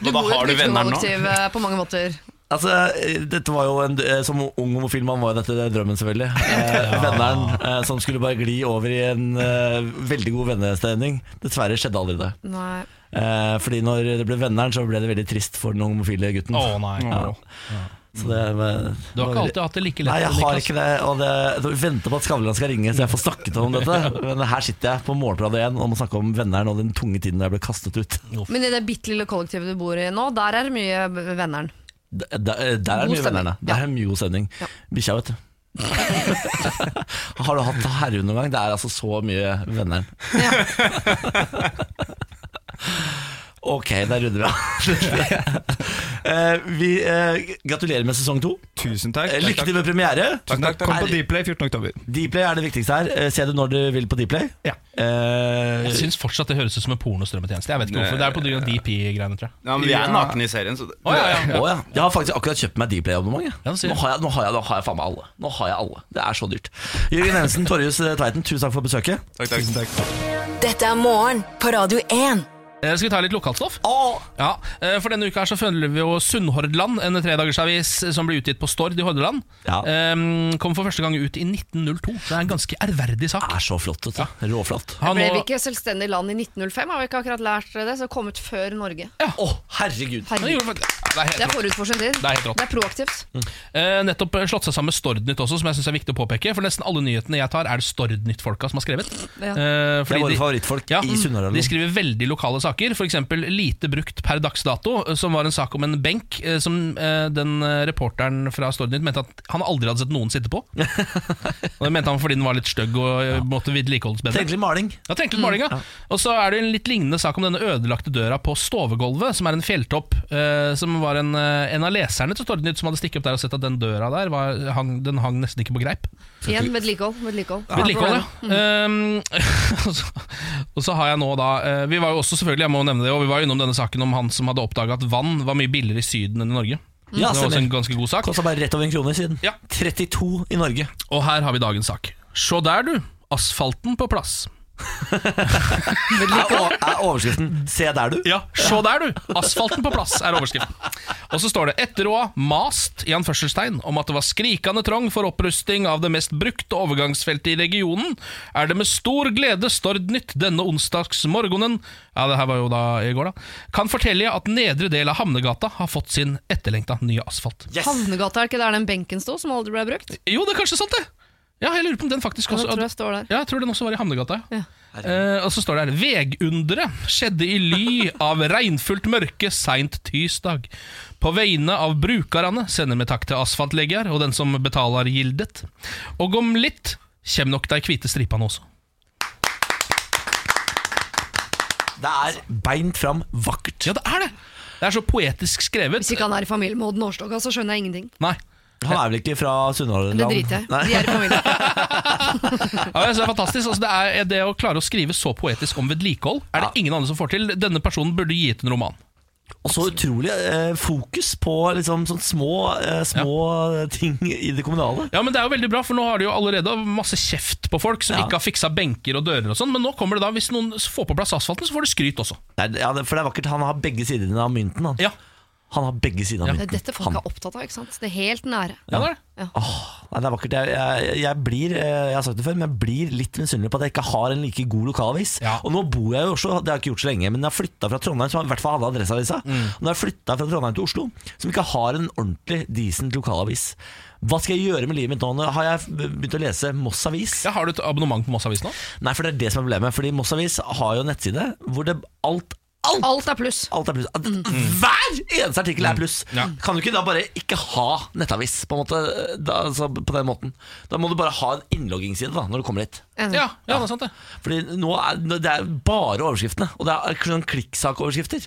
Du
da
bor i
har
et
du venneren nå?
lyttekollektiv eh, på mange måter.
Altså, eh, dette var jo en, eh, Som ung homofil mann var jo dette drømmen, selvfølgelig. Eh, venneren eh, som skulle bare gli over i en eh, veldig god vennestemning. Dessverre skjedde aldri det.
Nei.
Eh, fordi når det ble venneren, så ble det veldig trist for den homofile gutten.
Å nei.
Ja. Så det, men,
Du har ikke alltid hatt det like lett.
Nei, jeg har
Niklas.
ikke det. Og det jeg venter på at Skavlan skal ringe, så jeg får snakket om dette. Men her sitter jeg på Morgenbladet igjen og må snakke om venneren og den tunge tiden da jeg ble kastet ut.
Men i det bitte lille kollektivet du bor i nå, der er det mye b- venneren.
Der, der eh, der er
God
det mye
stemning.
vennerne. Der er det mye god stemning. Bikkja, vet du. Har du hatt herre noen gang? Det er altså så mye venner. ok, da runder vi av. Eh, vi eh, gratulerer med sesong to.
Tusen takk.
Eh, Lykke til med premiere.
Takk, takk, takk. Kom på
Er-
Dplay 14. oktober.
Dplay er det viktigste her. Eh, Se det når du vil på Dplay.
Ja.
Eh,
Jeg syns fortsatt det høres ut som en pornostrømmetjeneste. Jeg vet ikke hvorfor, Det er på grunn av DP-greiene, tror jeg.
Ja, men Vi er nakne i serien, så det,
Å, ja, ja.
Å, ja. Jeg har faktisk akkurat kjøpt meg Dplay-abonnement. jeg.
Ja, du sier
nå,
det.
har jeg- nå, har jeg- nå har jeg faen meg alle. Nå har jeg alle. Det er så dyrt. Jørgen Hensen, Torjus eh, Tveiten, tusen takk for besøket.
takk, takk.
Dette er morgen på Radio 1.
Eh, Skal vi ta litt lokalstoff?
Å,
Ja, eh, for denne uka her så følger vi jo Sunnhordland, en tredagersavis som ble utgitt på Stord i Hordaland.
Ja.
Eh, Kom for første gang ut i 1902. Det er en ganske ærverdig sak.
er så flott, vet du. Råflott.
Han
Ble vi
og-
ikke selvstendig land i 1905? Har vi ikke akkurat lært det? Så kommet før Norge.
Å, herregud.
Han
Herregud.
gjorde faktisk- Ja, det er helt
Det er forut for sin tid.
Det er helt rått.
Det er proaktivt.
Eh, nettopp eh, slått seg sammen med Stordnytt også, som jeg synes er viktig å påpeke. For nesten alle nyhetene jeg tar, er det Stordnytt-folka som har skrevet.
Ja.
Eh,
Det er
fordi
våre
de-
favorittfolk
ja,
i Sunnhordland.
De skriver veldig lokale saker, f.eks. lite brukt per dags dato, eh, som var en sak om en benk eh, som eh, den eh, reporteren fra Stordnytt mente at han aldri hadde sett noen sitte på. og det mente han fordi den var litt stygg og eh, måtte vedlikeholdes bedre.
Tenkelig maling.
Ja, tenk litt maling, ja. Og så er det en litt lignende sak om denne ødelagte døra på Stovegolvet, som er en fjelltopp. eh, som var en, eh, en av leserne til Stordnytt som hadde stikket opp der og sett at den døra der var, hang, den hang nesten ikke på greip.
Igjen vedlikehold. vedlikehold.
Vedlikehold, ja. Mm. Um, og så- og så har jeg nå da eh, Vi var jo også selvfølgelig, jeg må nevne det, og vi var jo innom denne saken om han som hadde oppdaga at vann var mye billigere i Syden enn i Norge.
Ja,
det var også
stemmer.
en ganske god sak.
Kosta bare rett over en krone siden.
Ja.
32 i Norge.
Og her har vi dagens sak. Se der, du. Asfalten på plass.
Er, o- er overskriften 'Se der, du'?
Ja, se der du! Asfalten på plass er overskriften. Og så står det etterråa mast i anførselstegn om at det var skrikende trong for opprusting av det mest brukte overgangsfeltet i regionen, er det med stor glede Stordnytt denne onsdagsmorgenen Ja, det her var jo da i går, da. Kan fortelle at nedre del av Hamnegata har fått sin etterlengta nye asfalt.
Yes.
Havnegata, er det ikke der den benken sto som aldri ble brukt?
Jo, det er kanskje sant, det! Ja, jeg lurer på om den faktisk
Jeg
også
tror jeg står der.
ja, jeg tror den også var i Hamnegata. Ja. Eh, og så står det her Vegunderet skjedde i ly av regnfullt mørke seint tirsdag. På vegne av brukerne sender vi takk til asfaltlegger og den som betaler gildet. Og om litt kjem nok de hvite stripene også.
Det er beint fram, vakkert.
Ja, det er det! Det er så poetisk skrevet.
Hvis ikke han er i familie med Odd Nårstoga, så skjønner jeg ingenting.
Nei.
Han er vel ikke fra Sunnhordland?
Det driter jeg i.
Nei.
De er i familie.
Ja, jeg synes det er fantastisk. Altså, det, er, det å klare å skrive så poetisk om vedlikehold er det ingen andre som får til. Denne personen burde gi ut en roman.
Og så utrolig eh, fokus på liksom, sånn små, eh, små ting i det kommunale.
Ja, men det er jo veldig bra, for nå har de jo allerede masse kjeft på folk som
Ja.
ikke har fiksa benker og dører og sånn, men nå kommer det da, hvis noen får på plass asfalten, så får de skryt også.
Det er, ja, det- for det er vakkert. Han har begge sidene av mynten. Han,
Ja,
han har begge sidene av
Ja.
Det er
mynten.
dette folk er opptatt av, ikke sant? Det er helt nære.
ja. det er det.
Nei, det er vakkert. Jeg, jeg, jeg blir eh, Jeg har sagt det før, men jeg blir litt misunnelig på at jeg ikke har en like god lokalavis.
Ja.
Og nå bor jeg i Oslo, det har jeg ikke gjort så lenge, men jeg har flytta fra Trondheim, som i hvert fall hadde Adresseavisa.
Mm.
Og Nå har jeg flytta fra Trondheim til Oslo, som ikke har en ordentlig decent lokalavis. Hva skal jeg gjøre med livet mitt nå? Nå har jeg begynt å lese Moss Avis.
Ja, har du et abonnement på Moss-avisen nå?
Nei, for det er det som er problemet. Fordi Moss Avis har jo en nettside hvor det alt Alt,
Alt er pluss.
alt er pluss. At Hver eneste artikkel er pluss.
Mm, Ja.
Kan du ikke da bare ikke ha nettavis på, en måte, da, altså, på den måten? Da må du bare ha en innloggingsside da, når du kommer dit.
Enig.
Ja, ja, det er sant det.
Fordi nå er nå- det er bare overskriftene, og det er sånn klikksakoverskrifter.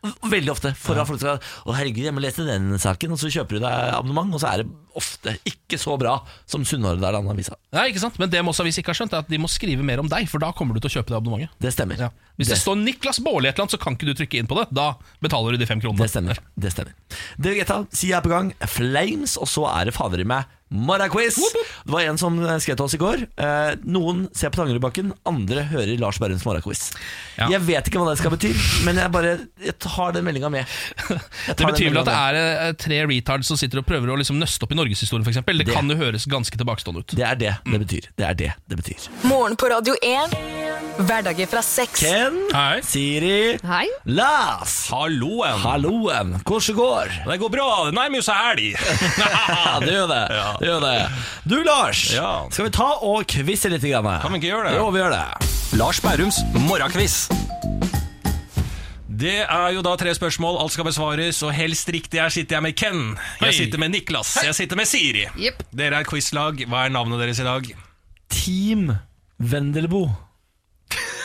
Veldig ofte. For at folk skal Å, herregud, jeg må lese den saken. Og så kjøper du deg abonnement, og så er det ofte ikke så bra som Sunnhordland-avisa.
Nei, ikke sant? Men det Moss-avis ikke har skjønt, er at de må skrive mer om deg, for da kommer du til å kjøpe det abonnementet.
Det stemmer.
Ja. Hvis det, står Niklas Baarli et eller annet, så kan ikke du trykke inn på det. Da betaler du de fem kronene.
Det stemmer. det stemmer Det Greta, si er på gang. Flames, og så er det fader i meg morgenquiz. Det var en som skrev til oss i går. Eh, noen ser på Tangerudbakken, andre hører Lars Berrums morgenquiz.
Ja.
Jeg vet ikke hva det skal bety, men jeg bare Jeg tar den meldinga med. Jeg
Det
tar
betyr vel
den
at det
meldingen med.
er eh, tre retards som sitter og prøver å liksom nøste opp i norgeshistorien, f.eks. Det,
Det-
kan jo høres ganske tilbakestående ut.
det er det det betyr. Det er det det betyr.
Morgen på Radio 1. Hverdager fra seks.
Ken,
Hei.
Siri,
Hei.
Lars.
Halloen.
Halloen. Hvordan går?
Det går bra. Det nærmer seg helg.
Ja, det gjør det.
Ja.
det gjør det. Du, Lars.
Ja.
Skal vi ta og quize litt? Grann?
Kan vi ikke gjøre det?
Jo, vi gjør det.
Lars Bærums morgenkviss. Det er jo da tre spørsmål, alt skal besvares, og helst riktig her sitter jeg med Ken.
Hei.
Jeg sitter med Niklas. Jeg sitter med Siri.
Jepp.
Dere er et quizlag. Hva er navnet deres i dag?
Team Vendelbo.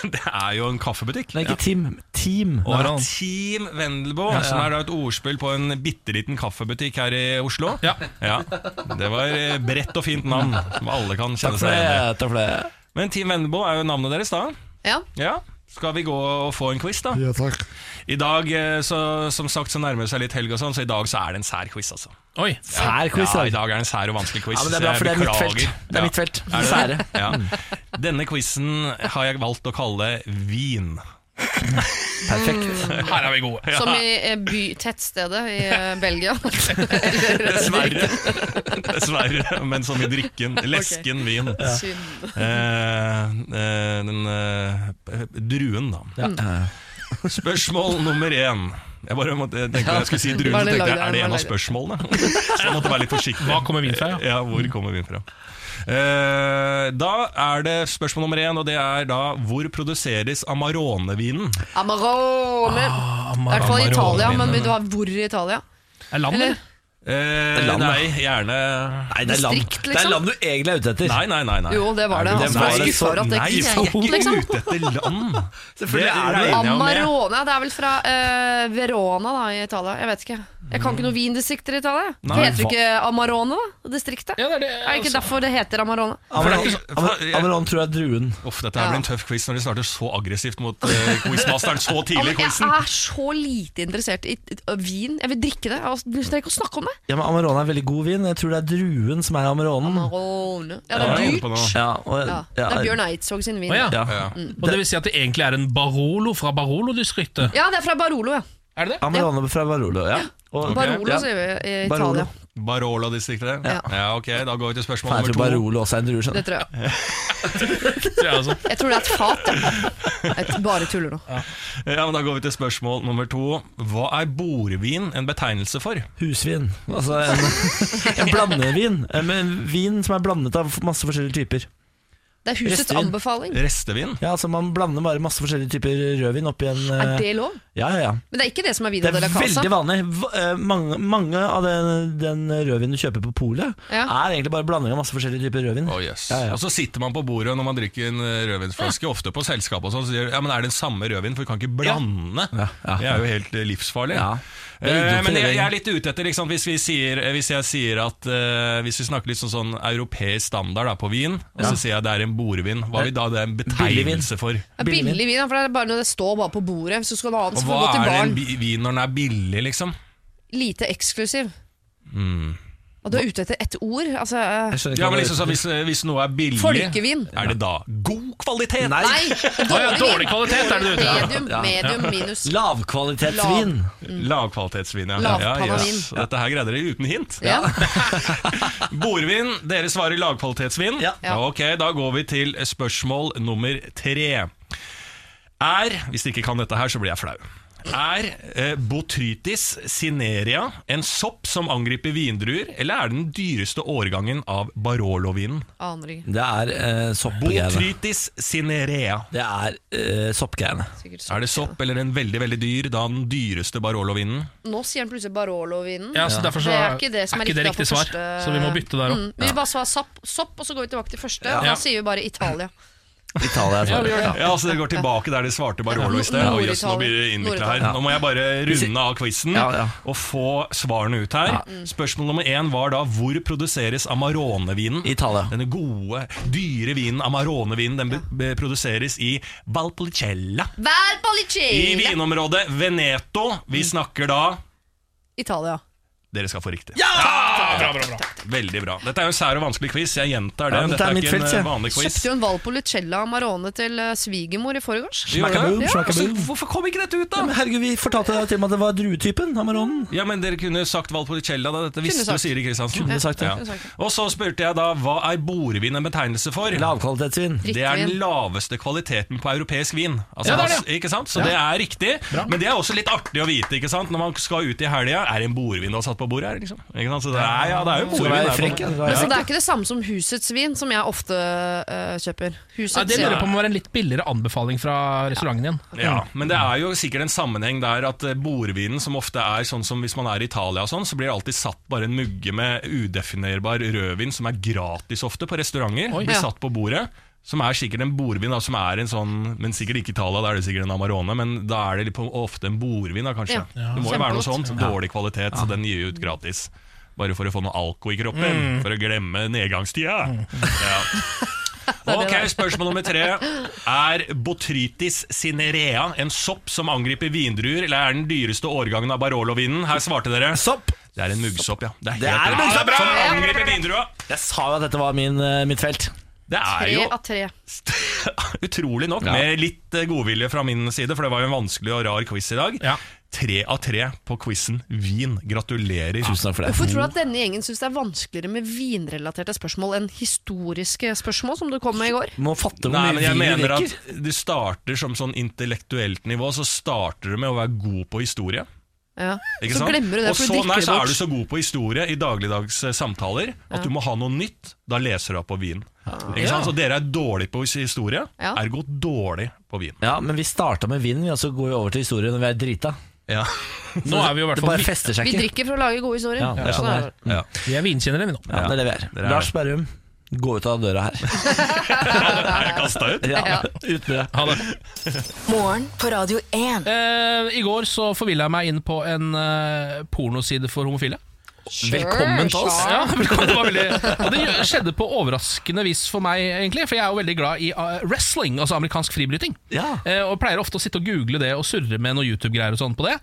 Det er jo en kaffebutikk.
Nei, ikke Team. Team.
Og Team Vendelbo, som er da et ordspill på en bitte liten kaffebutikk her i Oslo.
Ja.
Det var eh, bredt og fint navn, som alle kan
Takk
kjenne
for
seg igjen i.
det. Takk for det.
Men Team Vendelbo er jo navnet deres, da.
Ja.
Ja, skal vi gå og få en quiz, da? Ja, takk. I dag, eh, så, som sagt, så nærmer det seg litt helg og sånn, så i dag så er det en sær quiz, altså.
Oi.
Sær quiz,
Ja,
da.
i dag er det en sær og vanskelig quiz.
Ja, men det er
så
bra,
jeg
for det er mitt
beklager.
felt. Det er mitt felt. Sære.
Ja. Denne quizen har jeg valgt å kalle Vin.
Perfekt.
Her er vi gode.
Som i eh, by, tettstedet i eh, Belgia.
Dessverre. Dessverre, men som i drikken. Lesken vin.
Synd.
Eh, eh, den eh, druen, da. Spørsmål nummer én. Jeg bare måtte, jeg tenkte jeg skulle si druen,
Bare
så tenkte
lag det,
jeg, er det en
bare
av
lag det.
spørsmålene? Så jeg måtte være litt forsiktig.
Hva kommer vin fra, ja?
Ja, hvor kommer vin fra? Eh, da er det spørsmål nummer én, og det er da hvor produseres Amarone-vinen?
Amarone. I hvert fall i Italia, men vil du ha hvor i Italia?
Er land,
Eller?
eller?
Eh,
Land, da.
nei, gjerne
Nei, det er land
Distrikt, liksom?
Det er land du egentlig er ute etter.
Nei, nei, nei. nei.
Jo, det var det.
Nei,
Han som var
det
skuffa over at det
Nei,
ikke
jeg
gikk,
er
liksom.
ikke ute etter land.
Selvfølgelig er det
regner jeg med.
Amarone, det er vel fra eh, Verona da, i Italia. Jeg vet ikke. Jeg kan ikke noen vindistrikter i Italia.
Nei,
heter
hva-
det ikke Amarone, da? Distriktet?
Ja, det er det.
Er det
altså.
ikke derfor det heter Amarone?
For det
Amaron,
er ikke-
Amaron, Amaron tror jeg er druen.
Uff, dette her blir en tøff quiz når de starter så aggressivt mot eh, quizmasteren så tidlig i
Jeg
quizen.
er så lite interessert i i vin. Jeg vil drikke det. Jeg vil ikke å snakke om det.
Ja, men Amaron er veldig god vin. Jeg tror det er druen som er Amaronen.
Amarone. Ja, det
Ja, jeg
er
er inne på
dyrt.
noe.
Ja, og,
Ja.
ja,
Det er Bjørn Eidsvåg sin vin.
Å, ja.
Ja. Mm.
Ja.
Mm. Og det vil si at det egentlig er en Barolo fra Barolo-distriktet?
Ja, det er fra Barolo, ja.
Er det det?
Amarone fra Barolo, ja. Og,
Barolo,
ja.
sier vi i
Barolo.
Italia.
Barolo-distriktet?
Ja.
Ja. ok, Da går vi til spørsmål
Faen, jeg tror
nummer to.
Barolo også er en drue.
Det
skjønner du.
tror jeg.
Ja, altså.
Jeg tror det er et fat. ja. Jeg bare tuller nå.
Ja, men da går vi til spørsmål nummer to. Hva er borvin en betegnelse for?
Husvin. Altså en, en blandevin. En vin som er blandet av masse forskjellige typer.
Det er husets
Restevin.
anbefaling.
Restevin?
Ja, altså Man blander bare masse forskjellige typer rødvin oppi en
Er
eh,
det lov?
Ja, ja, ja.
Men det er ikke det som er
Det
Vino de
er
la Casa.
veldig vanlig. V- eh, Mange, mange av den, den rødvinen du kjøper på polet,
Ja.
er egentlig bare blanding av masse forskjellige typer rødvin.
Å, jøss.
Ja, altså, ja.
Oh, Og så sitter man på bordet når man drikker en eh, rødvinsflaske, ofte på selskap og sånn, så sier de, ja, men er det den samme rødvin, for vi kan ikke blande.
Ja, ja.
Det er jo helt eh, livsfarlig.
Ja. Det er
Eh,
idioter,
Men jeg, jeg
rødvin.
er litt ute etter liksom, hvis, vi sier, eh, hvis jeg sier at eh, Hvis vi snakker litt sånn, sånn europeisk standard da, på vin, og så sier jeg det er en borvin, hva vil da det er en
Billigvin.
betegnelse for?
Ja, Billig vin, ja, for det er bare når det står bare på bordet. Hvis du skal ha den,
Og
så
hva
får du gå til
er det
baren.
en bi- vin når den er billig, liksom?
Lite eksklusiv. Og du er ute etter ett ord? Altså eh,
Jeg skjønner ikke
Ja,
hva
men
det-
liksom så hvis, hvis noe er billig
Folkevin. Mm.
Er det da god kvalitet?
Nei.
Nei!
ja, dårlig
vin.
kvalitet er det du er ute etter.
Medium,
Ja.
medium minus.
Lavkvalitetsvin.
Lavkvalitetsvin, ja.
Lavpanna
ja yes. Dette her greide dere uten hint.
Ja.
Bordvin, dere svarer lavkvalitetsvin.
Ja.
Ja.
Ok, Da går vi til spørsmål nummer tre. Er Hvis dere ikke kan dette her, så blir jeg flau. Er eh, botrytis cinerea en sopp som angriper vindruer, eller er det den dyreste årgangen av Barolo-vinen?
Aner ikke.
Det er eh, soppgreiene.
Botrytis cinerea.
Det er eh, soppgreiene.
Sikkert
Er det sopp eller en veldig veldig dyr, da den dyreste Barolo-vinen?
Nå sier han plutselig Barolo-vinen.
Ja, så derfor så
Det er ikke det som er,
ikke det
riktig
riktig
da på
svar,
første-
så vi må bytte der òg.
Mm, Vi bare svarer sopp, sopp, og så går vi tilbake til første. Og da
Ja.
sier vi bare Italia.
Italia er svaret. Ja.
Ja, altså Det går tilbake der de svarte Barolo i sted.
Ja.
Oi, jøss, nå blir det innvikla her. Nå må jeg bare runde av quizen
Ja, ja.
og få svarene ut her. Mm. Spørsmål nummer én var da hvor produseres Amarone-vinen?
Italia.
Denne gode, dyre vinen, Amarone-vinen, den be- be- produseres i Valpolicella.
Val
I
Policella!
vinområdet Veneto. Vi
Mm.
snakker da
Italia.
Dere skal få riktig. Ja! Veldig bra. Dette er jo en sær og vanskelig quiz. Jeg gjentar det.
Ja, dette
Dette
er
er
mitt
ikke
felt,
en
sier jeg.
eh, vanlig quiz.
Kjøpte jo en Valpolicella Amarone til eh, svigermor i forgårs.
Vi gjør det.
Smakaboom,
Ja,
smakaboom.
altså, Hvorfor kom ikke dette ut, da?
Men herregud, vi fortalte deg til og med at det var druetypen. Amaronen.
Ja, men Dere kunne sagt Valpolicella. da Dette visste
sagt.
jo Siri Kristiansen.
Kunne sagt det.
Ja. Og så spurte jeg da hva er borvin en betegnelse for?
Lavkvalitetsvin.
Det er den laveste kvaliteten på europeisk vin. Altså,
Ja, det er det.
Ikke sant? Så det er riktig. Men det er også litt artig å vite ikke sant? når man skal ut i helga. Er det en bordvin du har satt på på bordet her, liksom. Ikke sant? Så det er, ja, det er jo
Skal
morvin
være
der, på en
frekk,
måte.
ja. Skal
Men
være
Så
frekk.
det er ikke det samme som husets vin, som jeg ofte eh, kjøper. Husets
Ja, det lurer jeg
vin.
på om det var en litt billigere anbefaling fra restauranten igjen.
Ja, men det er jo sikkert en sammenheng der at eh, bordvinen, som ofte er sånn som hvis man er i Italia og sånn, så blir det alltid satt bare en mugge med udefinerbar rødvin, som er gratis ofte på restauranter, blir
Ja.
satt på bordet. Som er sikkert en bordvin, da, som er en sånn Men sikkert ikke Italia, da er det sikkert en Amarone, men da er det litt på, ofte en bordvin, da, kanskje.
Ja. Ja.
Det må jo være noe
Kjempegodt.
sånt. Dårlig kvalitet, så den gir jo ut gratis. Bare for å få noe alko i
Mm.
kroppen, for å glemme nedgangstida. Ja. Ok, Spørsmål nummer tre. Er botrytis cinerea en sopp som angriper vindruer, eller er den dyreste årgangen av Barolo-vinen? Her svarte dere.
Sopp!
Det er en muggsopp, ja. Det er, helt
Det er en
riktig.
muggsopp, bra!
Som angriper vindrua.
Jeg sa jo at dette var min, eh, mitt felt.
Det er
Tre
jo
av tre.
utrolig nok, med litt eh, godvilje fra min side, for det var jo en vanskelig og rar quiz i dag.
Ja.
Tre av tre på quizen vin. Gratulerer.
Tusen takk for
Hvorfor tror
det.
du at denne gjengen syns det er vanskeligere med vinrelaterte spørsmål enn historiske spørsmål, som du kom med i går?
Må fatte hvor
Nei,
mye
men jeg
vin vi
mener
drikker.
at du starter som sånn intellektuelt nivå, så starter du med å være god på historie.
Ja.
Ikke
Så
sant?
glemmer du det,
og
for
så,
du drikker
nei,
det
så er
bort.
du så god på historie i dagligdags eh, samtaler at du må ha noe nytt. Da leser du opp på vin. Ikke sant? Så dere er dårlige på historie,
Ja.
ergo dårlig på vin.
Ja, men vi starta med vin, vi, og så går vi over til historie når vi er drita.
Ja.
Nå er vi jo i hvert
Det
fall
bare fester seg
Vi
ikke.
drikker for å lage gode historier.
Ja, det er
Sånn
sånn det
er
er.
Ja.
Vi er vinkjennere, vi nå.
Ja, det er det vi er.
Dere er
Lars
det.
Berrum, gå ut av døra her.
Er jeg kastet ut?
Ja,
Ja.
ut med det.
Ha det.
Morgen på Radio 1.
Eh, I går så forvilla jeg meg inn på en eh, pornoside for homofile.
Sure,
Velkommen til oss.
sure.
Ja, velkommen. det var veldig Og det skjedde på overraskende vis for meg, egentlig. For jeg er jo veldig glad i eh, wrestling, altså amerikansk fribryting.
Ja.
Eh, og pleier ofte å sitte og google det og surre med noe YouTube-greier og sånn på det.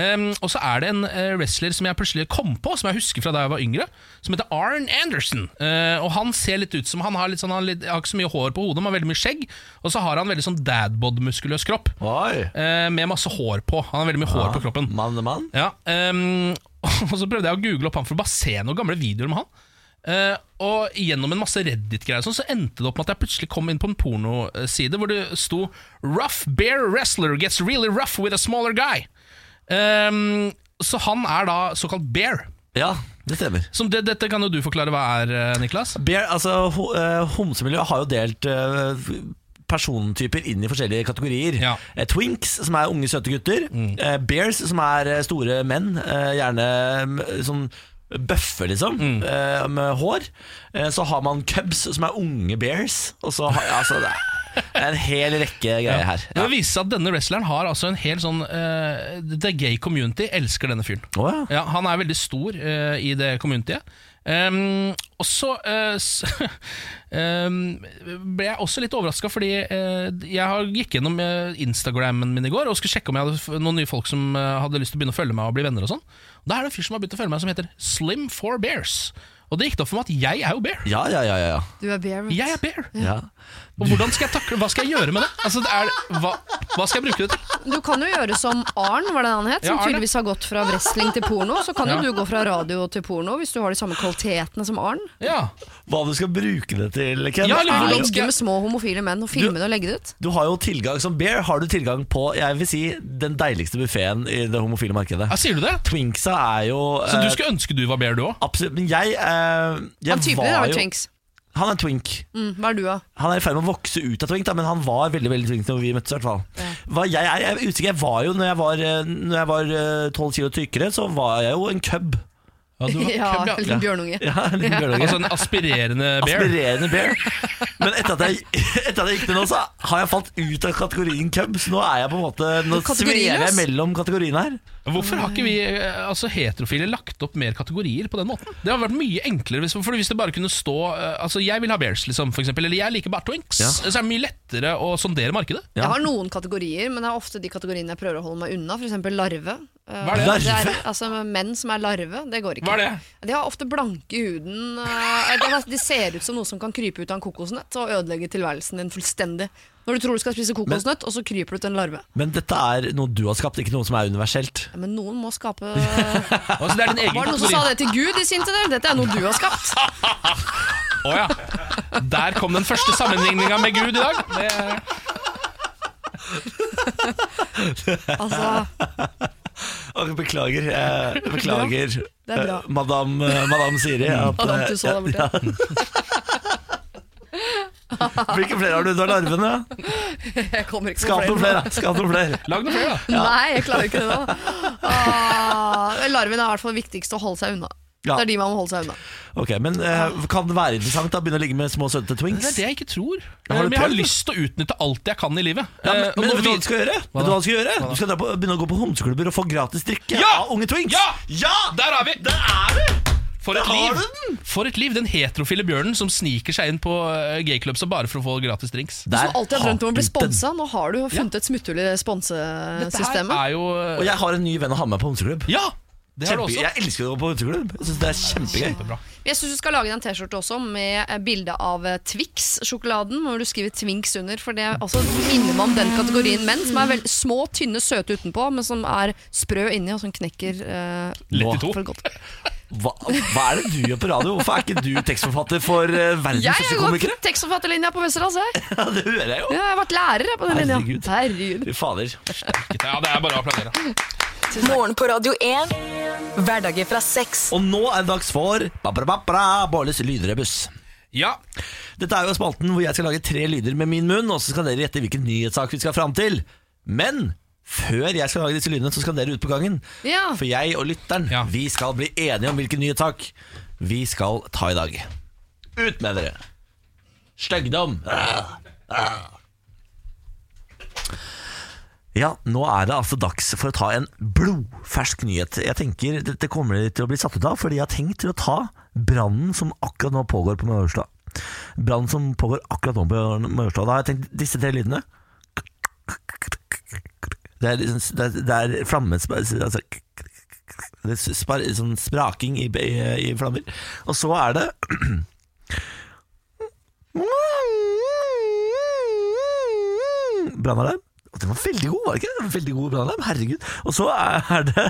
Eh, og så er det en eh, wrestler som jeg plutselig kom på, som jeg husker fra da jeg var yngre, som heter Arn Anderson. Eh, og han ser litt ut som Han har litt sånn Han har litt- har ikke så mye hår på hodet, men har veldig mye skjegg. Og så har han veldig sånn dadbod-muskuløs kropp.
Oi.
eh, Med masse hår på. Han har veldig mye
Ah,
hår på kroppen.
Mann til mann.
Ja, ehm, og så prøvde jeg å google opp han for å bare se noen gamle videoer med han. Eh, og gjennom en masse Reddit-greier og sånn, så endte det opp med at jeg plutselig kom inn på en pornoside hvor det sto 'Rough bear wrestler gets really rough with a smaller guy'. Ehm, så han er da såkalt bear.
Ja, det stemmer.
Som det, dette kan jo du forklare hva er, eh, Niklas.
Bear, altså, ho- eh, Homsemiljøet har jo delt eh, persontyper inn i forskjellige kategorier.
Ja. Mm.
Eh, Twinks, som er unge, søte gutter. Eh, Bears, som er eh, store menn. eh, Gjerne mm, sånn bøffe, liksom,
Mm.
eh, med hår. Eh, Så har man cubs, som er unge bears. Og så har, altså, det er en hel rekke greier her.
Det viser seg at denne wrestleren har altså en hel sånn eh, The gay community elsker denne fyren.
Å ja.
Ja, han er veldig stor eh, i det communityet. Um, og så eh, s- um, ble jeg også litt overraska, fordi eh, jeg har gikk gjennom eh, Instagrammen min i går og skulle sjekke om jeg hadde f- noen nye folk som eh, hadde lyst til å begynne å følge meg og bli venner. og sånn Og Da er det en fyr som har begynt å følge meg, som heter Slim for Bears. Og det gikk det opp for meg at jeg er jo bear.
Ja, ja, ja, ja,
Du er bear. vet du.
Jeg er bear.
ja. ja.
Og hvordan skal jeg takle Hva skal jeg gjøre med det? Altså, det er, hva, hva skal jeg bruke det til?
Du kan jo gjøre som Arn, var det han het, som
Ja, Arn, ja.
tydeligvis har gått fra wrestling til porno. Så kan jo
Ja.
du gå fra radio til porno hvis du har de samme kvalitetene som Arn.
Ja,
Hva du skal bruke det til, Ken?
Ja, eller
er
hvordan
jo-
Ligge med små homofile menn og filme det og legge det ut.
du har jo tilgang som bear Har du tilgang på jeg vil si, den deiligste buffeen i det homofile markedet.
ja Sier du det?
Twinksa er jo
Så du
eh,
skulle ønske du var bear, du òg?
Absolutt, men jeg, eh, jeg
Han typen din
var
er
jo-
jo twinks.
Han er twink.
Mm, hva er du, da?
Han er i ferd med å vokse ut av twink, da, men han var veldig veldig twink når vi møttes. i hvert fall Hva jeg er, jeg er usikker, jeg var jo, når jeg var, eh, når jeg var eh, 12 kilo tykkere, så var jeg jo en cub.
Ja, du var-
Ja, en liten bjørnunge.
Ja, en liten bjørnunge.
Altså en aspirerende bear?
Aspirerende bear. Men etter at, jeg, etter at jeg gikk til nå, så har jeg falt ut av kategorien cub. Så nå er jeg på en måte Nå
Kategorien,
svever jeg
ass.
mellom kategoriene her.
Hvorfor har ikke vi eh, altså, heterofile lagt opp mer kategorier på den måten? Det hadde vært mye enklere hvis, for hvis det bare kunne stå eh, Altså, jeg vil ha bears, liksom, for eksempel, eller jeg liker bare twinks.
Ja.
Så er det mye lettere å sondere markedet.
Ja.
Jeg har noen kategorier, men det er ofte de kategoriene jeg prøver å holde meg unna. F.eks. larve. Eh,
Hva er det?
Larve?
er, altså Menn som er larve, det går ikke.
Hva er det?
De har ofte blanke i huden. eh, de har- De ser ut som noe som kan krype ut av en kokosnøtt og ødelegge tilværelsen din fullstendig. Når du tror du skal spise kokosnøtt, og så kryper du til en larve.
Men dette er noe du har skapt, ikke noe som er universelt.
Ja, men noen må skape Var
Altså, det er din egen
det noen som
kategori.
sa det til Gud i sin tid? eller? Dette er noe du har skapt.
Å ja. Der kom den første sammenligninga med Gud i dag. Det,
Altså,
Og Ok, Beklager. eh, beklager,
Det er bra.
eh, madam, eh, madam Siri. At,
Madame Tussauds
eh,
der borte.
ja, ja. Hvilke flere har du under larvene?
Jeg kommer ikke på
Skap noen
flere.
flere. da. Skap noen flere.
Lag noe flere, da.
Nei, jeg klarer ikke det nå. Ah, larven er i hvert fall viktigst å holde seg unna.
Ja.
Det er de man må holde seg unna.
Ok, men eh, Kan det være interessant å begynne å ligge med små, søte
Det er
twinks? Eh,
det jeg ikke tror.
Ja, har du
Men jeg har
prøvd det?
lyst til å utnytte alt jeg kan i livet.
Ja, men,
Eh, og
men
nå
vet du hva
vi-
du skal gjøre? Vet du hva du skal gjøre? Du skal dra på, begynne å gå på homseklubber og få gratis drikke
Ja!
av unge twinks.
Ja! Der er vi! Der er vi! For et,
Der har
liv. For et liv! Den heterofile bjørnen som sniker seg inn på eh, gayclubsa bare for å få gratis drinks.
Du som alltid har drømt om å bli
hatet den.
sponsa, nå har du jo funnet et smutthull i
Dette
sponsesystemet.
her er jo
Og jeg har en ny venn å ha med på homseklubb.
Ja! Det har du
Kjempegøy.
også.
Jeg elsker å gå på homseklubb. Jeg synes det er kjempegøy.
Kjempebra.
Jeg syns du skal lage deg en T-skjorte også med eh, bilde av eh, Twix-sjokoladen, hvor du skriver Twinks under, for det er også minner meg om den kategorien menn som er veldig små, tynne, søte utenpå, men som er sprø inni og som knekker eh,
Lett i to.
for godt.
Hva, hva er det du gjør på radio? Hvorfor er ikke du tekstforfatter for eh, verdens
Jeg
største
har gått
komikere?
tekstforfatterlinja på Westerdals, jeg.
Ja, det hører jeg
Ja,
jo.
Jeg har vært lærer jeg, på den linja.
Herregud.
Herregud.
Fy fader.
Ja, det er bare å applaudere.
Morgen på Radio 1. Hverdager fra seks.
Og nå er det dags for ba-ba-ba-ba, Bårlis lydrebuss.
Ja,
Dette er jo spalten hvor jeg skal lage tre lyder med min munn, og så skal dere gjette hvilken nyhetssak vi skal fram til. Men før jeg skal lage disse lydene, så skal dere ut på gangen.
Ja.
For jeg og lytteren,
Ja.
vi skal bli enige om hvilken nyhetssak vi skal ta i dag. Ut med dere. Støggdom. Ja, nå er det altså dags for å ta en blodfersk nyhet. Jeg tenker Dette kommer dere til å bli satt ut av, fordi jeg har tenkt til å ta brannen som akkurat nå pågår på Majorstua. Brannen som pågår akkurat nå på Majorstua. Da har jeg tenkt disse tre lydene. Det er, liksom- det er, det er flammesp... Altså, det er spar, sånn spraking i, i, i flammer. Og så er det Brannalarm. Og Den var veldig god, var det ikke? Veldig god brannalarm, herregud. Og så er det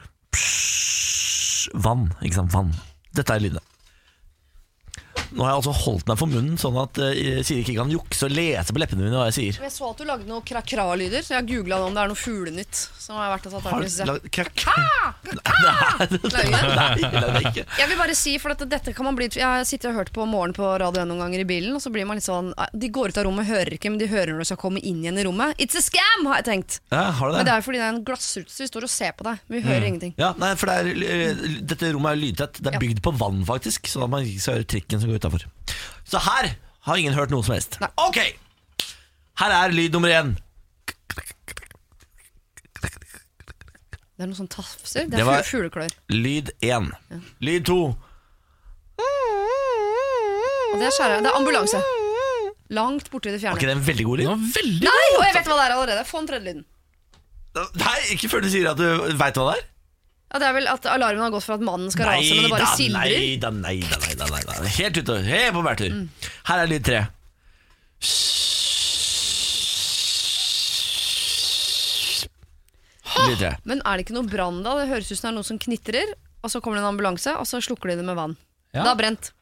Psj, vann. Ikke sant, vann. Dette er lydene. Nå har jeg altså holdt meg for munnen, sånn at eh, Siri ikke kan jukse og lese på leppene mine hva jeg sier.
Jeg så at du lagde noen krakra-lyder, så jeg har googla om det er noe fuglenytt. Som har vært å ta tak
Har
i,
du
synes jeg.
lagd krakk? Nei, det
Lagde jeg det?
lagde jeg ikke.
Jeg vil bare si, for dette, dette kan man bli Jeg har sittet og hørt på morgen på radio noen ganger i bilen, og så blir man litt sånn De går ut av rommet, hører ikke, men de hører når de skal komme inn igjen i rommet. It's a scam, har jeg tenkt.
Ja, har du
Men
det?
det er jo fordi det er en glassrute, så vi står og ser på deg. Men vi
Mm.
hører ingenting.
Ja, nei, for det er, eh, dette rommet er jo lydtett. Det er bygd på vann, faktisk, sånn at man ikke skal høre trikken som går utafor. Så her har ingen hørt noe som helst.
Nei.
Ok! Her er lyd nummer én.
Det er noe sånn tafser. Det
Det
er
var-
fu- fugleklør.
Lyd én. Lyd to.
Og det er skjæra. Det er ambulanse. Langt borte i det
Var
fjerne.
ikke det en veldig god
det
lyd?
var veldig
Nei, og jeg vet hva det er allerede. Få den tredje lyden.
Nei, ikke før du sier at du veit hva det er.
Ja, det er vel at alarmen har gått for at mannen skal rase, men det bare sildrer. Mm.
nei da, nei da, nei da, nei da. Helt ute, helt på bærtur. Her er lyd tre. Lyd tre.
Men er det ikke noe brann da? Det høres ut som det er noe som knitrer, og så kommer det en ambulanse, og så slukker de det med vann.
Ja.
Det har brent.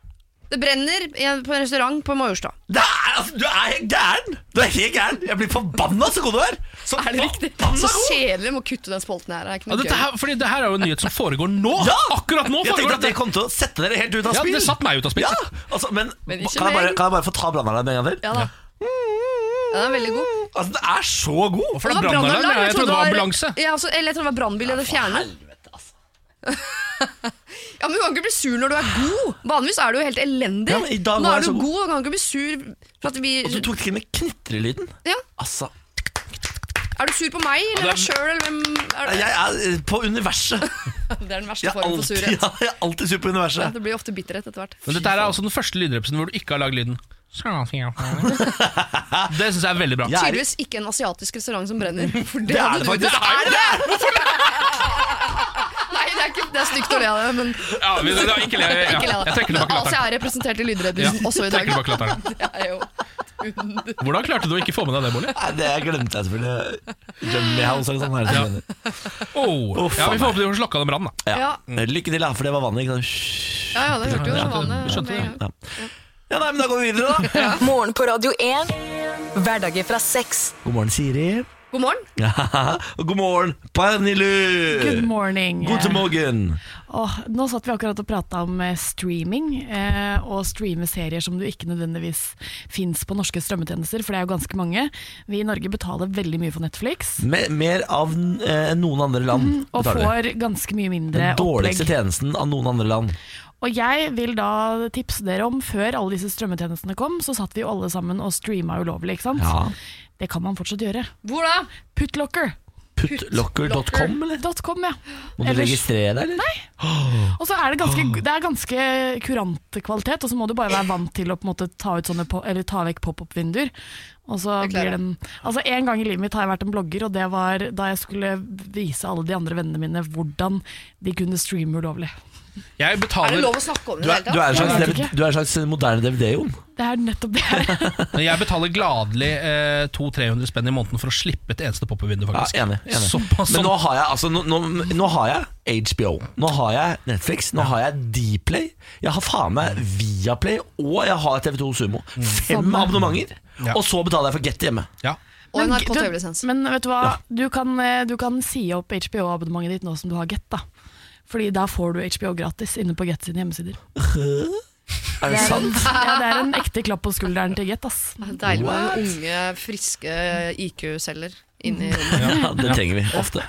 Det brenner i en- på en restaurant på Majorstua.
Det er, altså, du er helt gæren! Du er helt gæren Jeg blir forbanna så god du er! Så
Er det riktig?
forbanna
Så
god!
kjedelig med å kutte den spolten her. Det er ikke
ja,
noe
dette
gøy.
her, fordi det her er jo en nyhet som foregår nå!
Ja!
Akkurat nå
Jeg tenkte
foregår
at det
det!
kom til å sette dere helt ut av
Ja,
spill.
det satt meg ut av spill.
Ja, altså, men,
Men ikke
kan, jeg bare,
meg.
kan jeg bare få ta brannalarmen en gang til?
Ja da. Ja, den er veldig god.
Altså, den er så god!
For det er brannalarm, ja, jeg trodde det var ambulanse.
Ja, altså, eller jeg trodde det var brannbil i det fjerne.
Helvete, altså.
Ja, men Du kan ikke bli sur når du er god. Vanligvis er du jo helt elendig.
Ja, men i dag
Nå
var
er
jeg
du
så god.
god, og kan ikke bli sur for at vi
Og Altså, du tok ikke med knitrelyden?
Ja.
Altså,
Er du sur på meg eller deg sjøl, eller hvem er det?
jeg er eh, på universet.
Det er den verste
Jeg er
formen for
alltid,
surhet.
ja, jeg er alltid sur på
Ja,
universet.
det blir ofte bitterhet etter hvert.
Men dette her er altså den første lydrepsen hvor du ikke har lagd lyden. Det syns jeg er veldig bra.
Jeg er-
Tydeligvis ikke en asiatisk restaurant som brenner. For det,
Det er
hadde
det
du- Det
faktisk.
er det! Nei, det er, ikke, det er stygt å le av det, men
Ja, men det er ikke le- ja.
ikke le av
Jeg trekker tilbake
Asia
latteren.
er representert i lydredningsen
Ja,
også i dag.
trekker tilbake latteren.
Det er jo et under.
Hvordan klarte du å ikke få med deg det, Bolli?
Nei, det glemte jeg selvfølgelig. Jummy House eller sånn. her som mener.
Oh,
Uff,
ja, vi
faen
får håpe de får slokka den brannen, da.
Ja. Mm.
Ja,
Lykke til, da, for det var vannet. Ikke sant?
ja, ja det hørte jo
Ja, skjønte-
vannet.
skjønte
med en gang.
Ja. ja, nei, men da går vi videre, da.
Morgen på Radio 1. Hverdager fra seks.
God morgen, Siri.
God morgen.
Og God morgen, Pernille!
Good morning.
God til morgen.
Åh, nå satt vi akkurat og prata om eh, streaming, eh, og streame serier som du ikke nødvendigvis fins på norske strømmetjenester, for det er jo ganske mange. Vi i Norge betaler veldig mye for Netflix,
Mer, mer av n- eh, enn noen andre land
Mm, og
betaler de.
får ganske mye mindre
Den dårligste
opplegg.
tjenesten av noen andre land.
Og jeg vil da tipse dere om, før alle disse strømmetjenestene kom, så satt vi jo alle sammen og streama ulovlig, ikke sant?
Ja.
Det kan man fortsatt gjøre.
Hvor da?
Putlocker.
Putlocker.com, eller?
Dot com, ja.
Må du
Ellers-
registrere deg, eller?
Og så er det ganske, det er ganske kurant kvalitet, og så må du bare være vant til å på en måte ta, ut sånne, po- eller ta vekk pop-opp-vinduer. Og så
Det klarer
blir den, altså En gang i livet mitt har jeg vært en blogger, og det var da jeg skulle vise alle de andre vennene mine hvordan de kunne streame ulovlig.
Jeg
Er det
betaler,
lov å snakke om det?
Du
i
er,
det hele
du, er en slags,
Jeg vet
DVD
ikke.
du er en slags moderne DVD-on.
Det er nettopp det.
jeg betaler gladelig eh, 200-300 spenn i måneden for å slippe et eneste pop-up-vindu,
Ja,
faktisk.
enig, enig.
Såpass
Men
som
nå har jeg, altså, nå, nå, nå har jeg HBO, nå har jeg Netflix, nå har jeg Dplay, jeg har faen meg Viaplay, og jeg har TV2 Sumo. Fem
Samme.
abonnementer,
Mm. Ja.
og så betaler jeg for Get hjemme.
ja.
tatt? Og en
du,
NRK TV-lisens.
men vet du hva, du kan, eh, du kan si opp HBO-abonnementet ditt nå som du har Get. da. Fordi da får du HBO gratis inne på Get sine hjemmesider.
Er det sant?
Ja, Det er en ekte klapp på skulderen til Get. ass.
Ah, Deilig med unge, friske IQ-celler inni rommet.
Ja, det trenger vi ofte.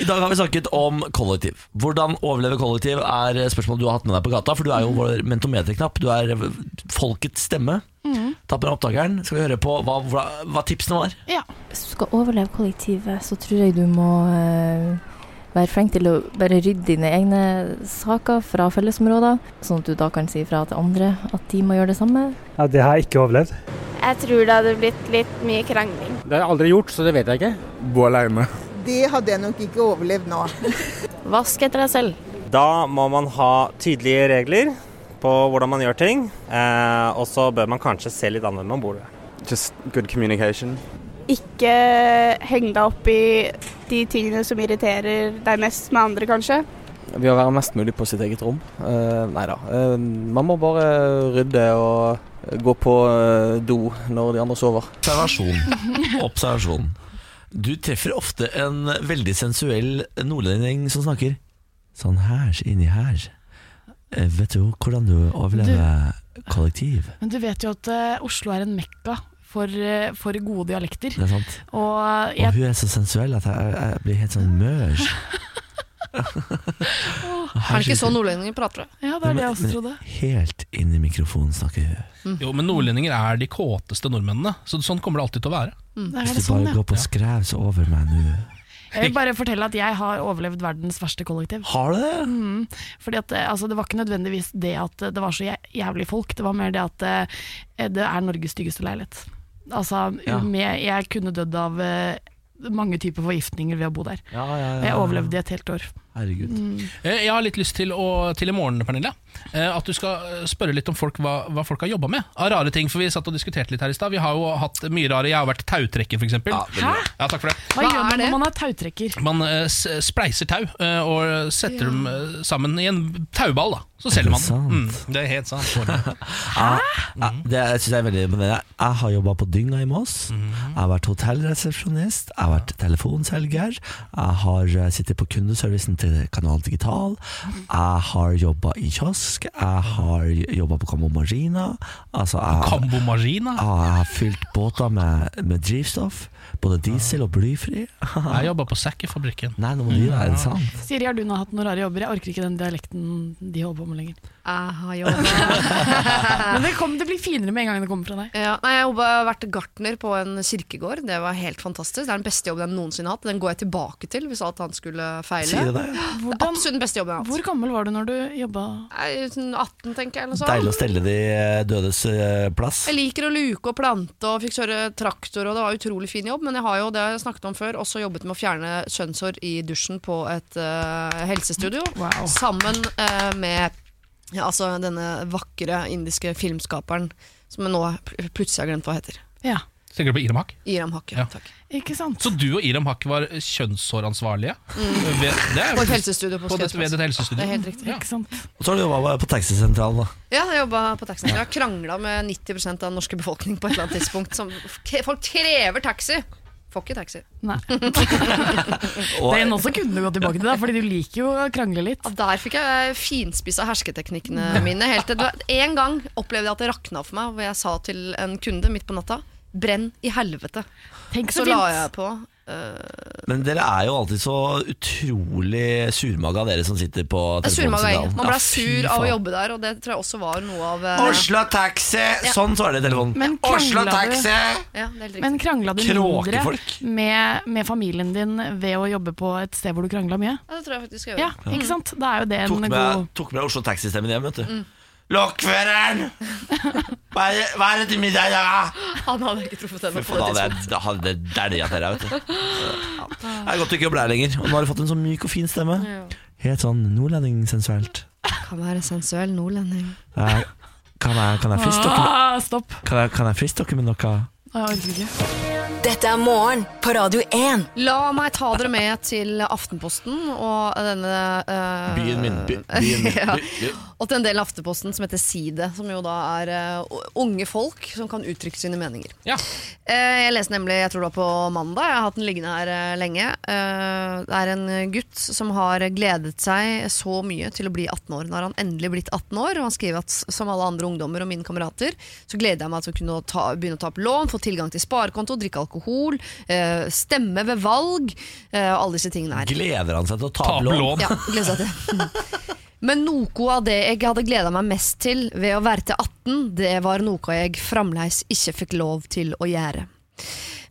I dag har vi snakket om kollektiv. Hvordan overleve kollektiv er spørsmålet du har hatt med deg på gata, for du er
Mm.
jo vår mentometerknapp. Du er folkets stemme.
Mm.
Ta på deg opptakeren, skal vi høre på hva, hva, hva tipsene var.
Ja.
Hvis du skal overleve kollektivet, så tror jeg du må eh, være flink til å bare rydde dine egne saker fra fellesområder, sånn at du da kan si fra til andre at de må gjøre det samme.
Ja, det har jeg ikke overlevd.
Jeg tror det hadde blitt litt mye krangling.
Det har jeg aldri gjort, så det vet jeg ikke. Bo aleine.
Det hadde jeg nok ikke overlevd nå.
Vask etter deg selv.
Da må man ha tydelige regler på hvordan man gjør ting. eh, og så bør man kanskje se litt an hvem man bor ved. Just good communication.
Ikke heng deg opp i de tingene som irriterer deg mest med andre, kanskje.
Ved å være mest mulig på sitt eget rom. Uh, nei da. Eh, man må bare rydde og gå på eh, do når de andre sover.
Observasjon. Observasjon. Du treffer ofte en veldig sensuell nordlending som snakker sånn her, inni her. Eh, Vet du hvordan du overlever kollektiv?
Men du vet jo at eh, Oslo er en mekka for, eh, for gode dialekter.
Det er sant.
Og eh,
Og
jeg,
hun er så sensuell at jeg, jeg blir helt sånn mørs.
Er det ikke sånn nordlendinger prater? da?
ja, det er det jeg også trodde.
Helt inn i mikrofonen snakker hun.
Jo, men nordlendinger er de kåteste nordmennene, så sånn kommer det alltid til å være.
Mm.
Det er
Hvis
det
du
sånn,
bare
ja.
går på skrev, så over meg nå.
Jeg vil bare fortelle at jeg har overlevd verdens verste kollektiv.
Har du det?
Fordi at, eh, altså, Det var ikke nødvendigvis det at eh, det var så jæ- jævlig folk, det var mer det at eh, det er Norges styggeste leilighet. Altså,
Ja.
med, jeg kunne dødd av eh, mange typer forgiftninger ved å bo der.
Ja, ja,
Jeg overlevde i et helt år.
Herregud.
Eh, Jeg har litt lyst til, å, til i morgen, Pernille, eh, at du skal eh, spørre litt om folk, hva, hva folk har jobba med. Av rare ting, for vi satt og diskuterte litt her i stad. Vi har jo hatt mye rare. Jeg har vært tautrekker, f.eks. Ja, ja, takk for det.
Hva
Hva, gjør
er
man
det?
når man er tautrekker?
Man eh, s- spleiser tau eh, og setter dem eh, sammen i en tauball. da Så selger man den. Mm,
sant?
det er helt sant. Bård.
Ja, Ah, det syns jeg er veldig imponerende. Jeg har jobba på dynga i Moss. Jeg har vært hotellresepsjonist. Jeg har vært telefonselger. Jeg har eh, sittet på kundeservicen til Kanal Digital. Jeg har jobba i kiosk. Jeg har jobba på Cambo Marina. Altså, jeg,
Combo Marina.
ja, jeg har fylt båter med, med drivstoff. Både diesel og blyfri.
Jeg jobba på Sækkefabrikken.
Nei, nå må du gjøre det sant.
Siri, har du nå hatt noen rare jobber? Jeg orker ikke den dialekten de holder på med lenger.
Jeg har jobba Ah.
Men det, kom, det blir finere med en gang det kommer fra deg.
ja, Nei, jeg har vært gartner på en kirkegård. Det var helt fantastisk. Det er den beste jobben jeg noensinne har hatt. Den går jeg tilbake til hvis alt annet skulle feile.
Sier du det?
Det er absolutt den beste jobben jeg har hatt.
Hvor gammel var du når du jobba?
Jeg er sånn 18, tenker jeg. Eller sånn.
Deilig å stelle de eh, dødes eh, plass.
Jeg liker å luke og plante og fikk kjøre traktor, og det var utrolig fin jobb. Men jeg har jo det har jeg snakket om før, også jobbet med å fjerne kjønnshår i dusjen på et eh, helsestudio.
Wow.
Sammen eh, med ja, altså denne vakre indiske filmskaperen som jeg nå pl- plutselig har glemt hva heter.
Ja,
Tenker du på Iram Haq?
Iram Hakke.
Ja.
Takk.
ikke sant?
Så du og Iram Haq var kjønnshåransvarlige? Eh, Ved- Det er
Mm. På et helsestudio på
på det, ved
Skausplass.
et
Det
helsestudio.
er helt riktig.
Ja.
Ikke sant?
Og så har du jobba på taxisentralen, da.
Ja, jeg jobba på taxien. Jeg har krangla med 90 av den norske befolkning på et eller annet tidspunkt. Som, folk krever taxi! Får ikke taxi.
Nei. Det er en også kunne gå tilbake til, da, fordi du liker jo å krangle litt.
Ja, der fikk jeg finspissa hersketeknikkene mine. Helt til det var- En gang opplevde jeg at det rakna for meg, hvor jeg sa til en kunde midt på natta 'brenn i helvete'.
Tenk
så
så
la
fint.
jeg på. eh,
Men dere er jo alltid så utrolig surmaga, dere som sitter på
det er surmaga jeg.
telefonsentralen.
Man ble
Ja, fy
sur av å
faen.
jobbe der, og det tror jeg også var noe av eh,
Oslo Taxi!
Ja.
Sånn svarer det i telefonen.
Men
Oslo
krangla du-
Taxi!
Ja, det er helt riktig.
Men krangla du mindre
Kråkefolk.
med, med familien din ved å jobbe på et sted hvor du krangla mye?
Ja, det tror jeg faktisk jeg
Ja,
gjorde.
ikke sant? Da er jo det en
Tok med,
god
tok med Oslo Taxi-stemmen hjem, vet du.
Mm.
Lokføreren! Hva er det- hva er det til middag i dag?
Han hadde ikke truffet henne
Fy
på det
faen, da hadde
tidspunktet.
jeg- da hadde jeg dælja til deg, vet du. Det er godt du ikke jobber der lenger. Og nå har du fått en sånn myk og fin stemme. Helt sånn nordlending-sensuelt.
Kan være sensuell nordlending.
Eh, Kan jeg, kan jeg friste dere?
Ah, stopp.
Kan jeg, kan jeg friste dere med noe?
Jeg orker ikke.
Dette er Morgen på Radio 1.
La meg ta dere med til Aftenposten og denne eh,
Byen min. By, byen min.
Ja.
By, by.
Og til en del av Aftenposten som heter Side, som jo da er eh, unge folk som kan uttrykke sine meninger. Eh, jeg leste nemlig, jeg tror det var på mandag, jeg har hatt den liggende her eh, lenge. Eh, det er en gutt som har gledet seg så mye til å bli 18 år. Nå har han endelig blitt 18 år, og han skriver at som alle andre ungdommer og mine kamerater, så gleder jeg meg til å kunne ta, begynne å ta opp lån, få tilgang til sparekonto, drikke alkohol, eh, stemme ved valg, eh, og alle disse tingene her.
Gleder han seg til å ta opp
opp
lån?
lån.
Ja, gleder seg til. Men noe av det jeg hadde gleda meg mest til ved å være til 18, det var noe jeg fremdeles ikke fikk lov til å gjøre.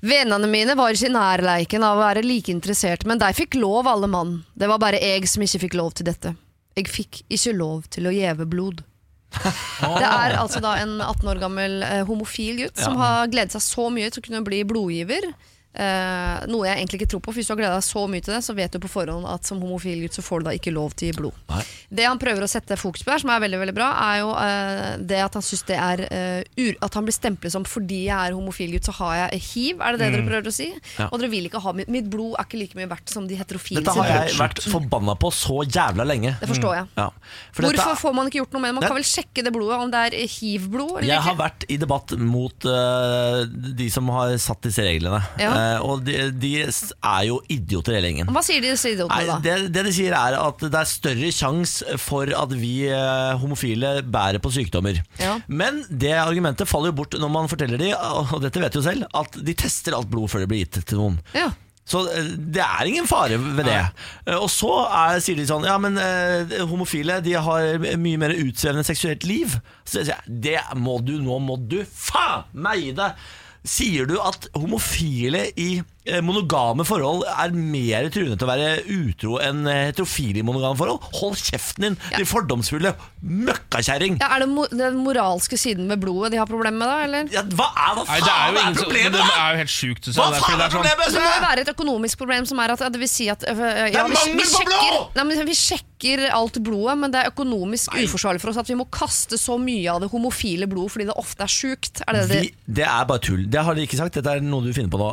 Vennene mine var ikke i nærleiken av å være like interessert, men de fikk lov, alle mann. Det var bare jeg som ikke fikk lov til dette. Jeg fikk ikke lov til å gjeve blod. Det er altså da en 18 år gammel eh, homofil gutt som
Ja.
har gledet seg så mye til å kunne bli blodgiver. Eh, noe jeg egentlig ikke tror på, for hvis du har gleda deg så mye til det, så vet du på forhånd at som homofil gutt så får du da ikke lov til å gi blod. Det han prøver å sette fokus på her, som er veldig veldig bra, er jo eh, det at han synes det er eh, ur, At han blir stemplet som fordi jeg er homofil gutt, så har jeg hiv. Er det det
Mm.
dere prøver å si?
Ja.
Og dere vil ikke ha mitt, mitt blod er ikke like mye verdt som de heterofile
Dette har
sin.
jeg vært forbanna på så jævla lenge.
Det forstår jeg.
Ja. For dette-
Hvorfor får man ikke gjort noe med det? Man
Nei.
kan vel sjekke det blodet, om det er hiv-blod eller
Jeg
ikke?
har vært i debatt mot eh, de som har satt disse reglene.
Ja.
Eh, og de, de er jo idioter hele gjengen.
Hva sier de disse idiotene da?
Nei, det, det de sier er at det er større sjanse for at vi eh, homofile bærer på sykdommer.
Ja.
Men det argumentet faller jo bort når man forteller de, og dette vet du selv, at de tester alt blod før det blir gitt til noen.
Ja.
Så eh, det er ingen fare ved det. Eh, Og så er, sier de sånn Ja, men eh, homofile de har mye mer utsvevende seksuelt liv. Så jeg sier det må du, nå må du faen meg gi deg! Sier du at homofile i eh, monogame forhold er mer truende til å være utro enn eh, heterofile i monogame forhold? Hold kjeften din, din fordomsfulle møkkakjerring!
Ja, er det mo den moralske siden ved blodet de har problemer med, da? Eller?
hva er, hva
Nei, det er
faen
jo
er
ingen som-
problemet,
men Det
da?
er jo helt sjukt. synes jeg.
Hva
Det er fordi det
faen er
er sånn-
problemet?
Det må jo være et økonomisk problem som er at ja, det vil si at øh, ja,
er
vi, vi,
mangel på
sjekker, nei, men vi sjekker alt blodet, men det er økonomisk uforsvarlig for oss at vi må kaste så mye av det homofile blodet fordi det ofte er sjukt. Er det det?
Vi, det er bare tull. Det har de ikke sagt. Dette er noe du finner på nå.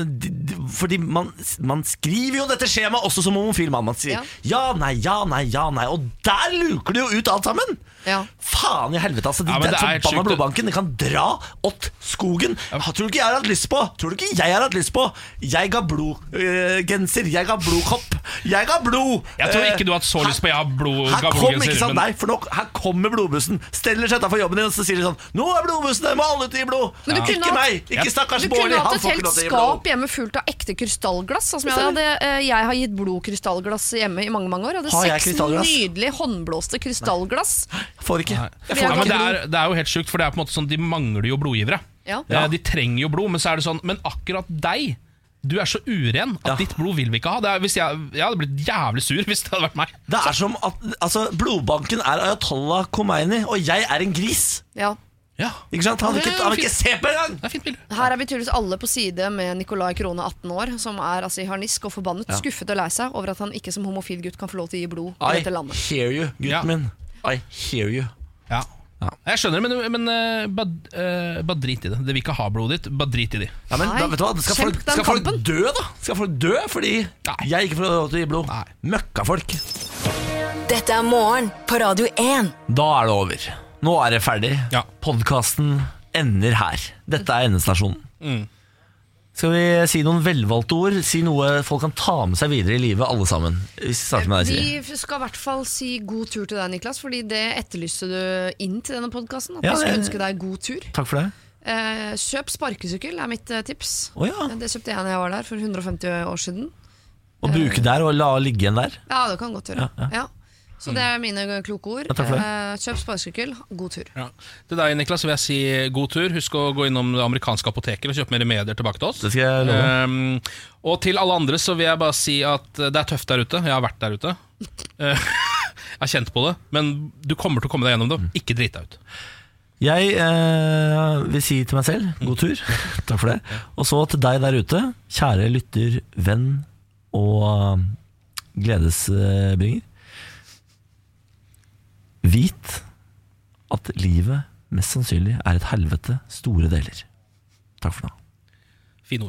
Og de- de- Fordi man, man skriver jo dette skjemaet også som homofil mann. Man sier
Ja.
ja. nei, ja, nei, ja, nei. Og der luker de jo ut alt sammen!
Ja.
Faen i helvete, altså. De,
Ja, men det
den
er helt
forbanna
sjukt.
blodbanken de kan dra åt skogen. Tror du ikke jeg har hatt lyst på? Tror du ikke jeg har hatt lyst på? Jeg ga blodgenser. jeg ga blodkopp. Jeg ga blod.
Jeg tror
Eh,
ikke du har hatt så lyst på jeg har blod
her
gammel
kom,
genser,
ikke sant,
men-
nei, for nå, her kommer blodbussen. Steller seg utenfor jobben din og så sier de sånn Nå er blodbussen der, må alle ut og gi blod!
Men du kunne
Ikke
hatt-
meg! Ikke stakkars
Du
Bårli,
kunne hatt
han
et
får ikke
helt
lov til å gi blod.
skap hjemme fullt av ekte krystallglass. Sånn som jeg, hadde, Eh, jeg har gitt blodkrystallglass hjemme i mange mange år. Jeg
Har
hadde
jeg
seks
krystallglass?
nydelige håndblåste krystallglass.
Får ikke.
Jeg får
Ja, men
ikke
det, er, det er jo helt sjukt, for det er på en måte sånn de mangler jo blodgivere.
Ja.
Eh, De trenger jo blod, men så er det sånn Men akkurat deg du er så uren at ditt blod vil vi ikke ha. Det er, hvis jeg, jeg hadde blitt jævlig sur hvis det hadde vært meg.
Det er som at altså, Blodbanken er Ayatollah Khomeini, og jeg er en gris.
Ja.
Ikke sant? Han vil ikke, han vil ikke se på engang!
Her er vi tydeligvis alle på side med Nicolai Krone, 18 år, som er altså i harnisk og forbannet,
Ja.
skuffet og lei seg over at han ikke som homofil gutt kan få lov til å gi blod i
I
dette landet.
hear you, gutten min. I hear you.
Ja. Jeg skjønner det, men, men eh, bare eh, bare drit i det. Det vil ikke ha blodet ditt, bare drit i det.
Ja, men da, vet du hva? Skal, folk, skal folk dø, da? Skal folk dø fordi jeg ikke får lov til å gi blod? Møkkafolk.
Dette er Morgen på Radio 1.
Da er det over. Nå er Mm. det ferdig. Podkasten ender her. Dette er endestasjonen. Skal vi si noen velvalgte ord? Si noe folk kan ta med seg videre i livet, alle sammen. Vi starter med deg, Siri.
Vi skal i hvert fall si god tur til deg, Niklas, fordi det etterlyste du inn til denne podkasten. At
Ja,
vi skulle
det-
ønske deg god tur.
Takk for det.
Eh, kjøp sparkesykkel, er mitt eh, tips.
Å ja.
Eh, Det kjøpte jeg da jeg var der for 150 år siden.
Å bruke der og la ligge en der.
Ja, det kan godt gjøre.
Ja,
Ja, Så det er mine kloke ord.
Ja, takk for det.
Eh, kjøp sparkesykkel, god tur.
Ja. Til deg, Niklas, vil jeg si god tur. Husk å gå innom det amerikanske apoteket og kjøpe mer remedier tilbake til oss.
Det skal jeg love.
Ehm, og til alle andre så vil jeg bare si at det er tøft der ute. Jeg har vært der ute. Eh, jeg har kjent på det. Men du kommer til å komme deg gjennom det. Ikke drit deg ut.
Jeg eh, vil si til meg selv god tur. Takk for det. Og så til deg der ute, kjære lytter, venn og eh, gledesbringer. Vit at livet mest sannsynlig er et helvete store deler. Takk for nå.
Fine ord.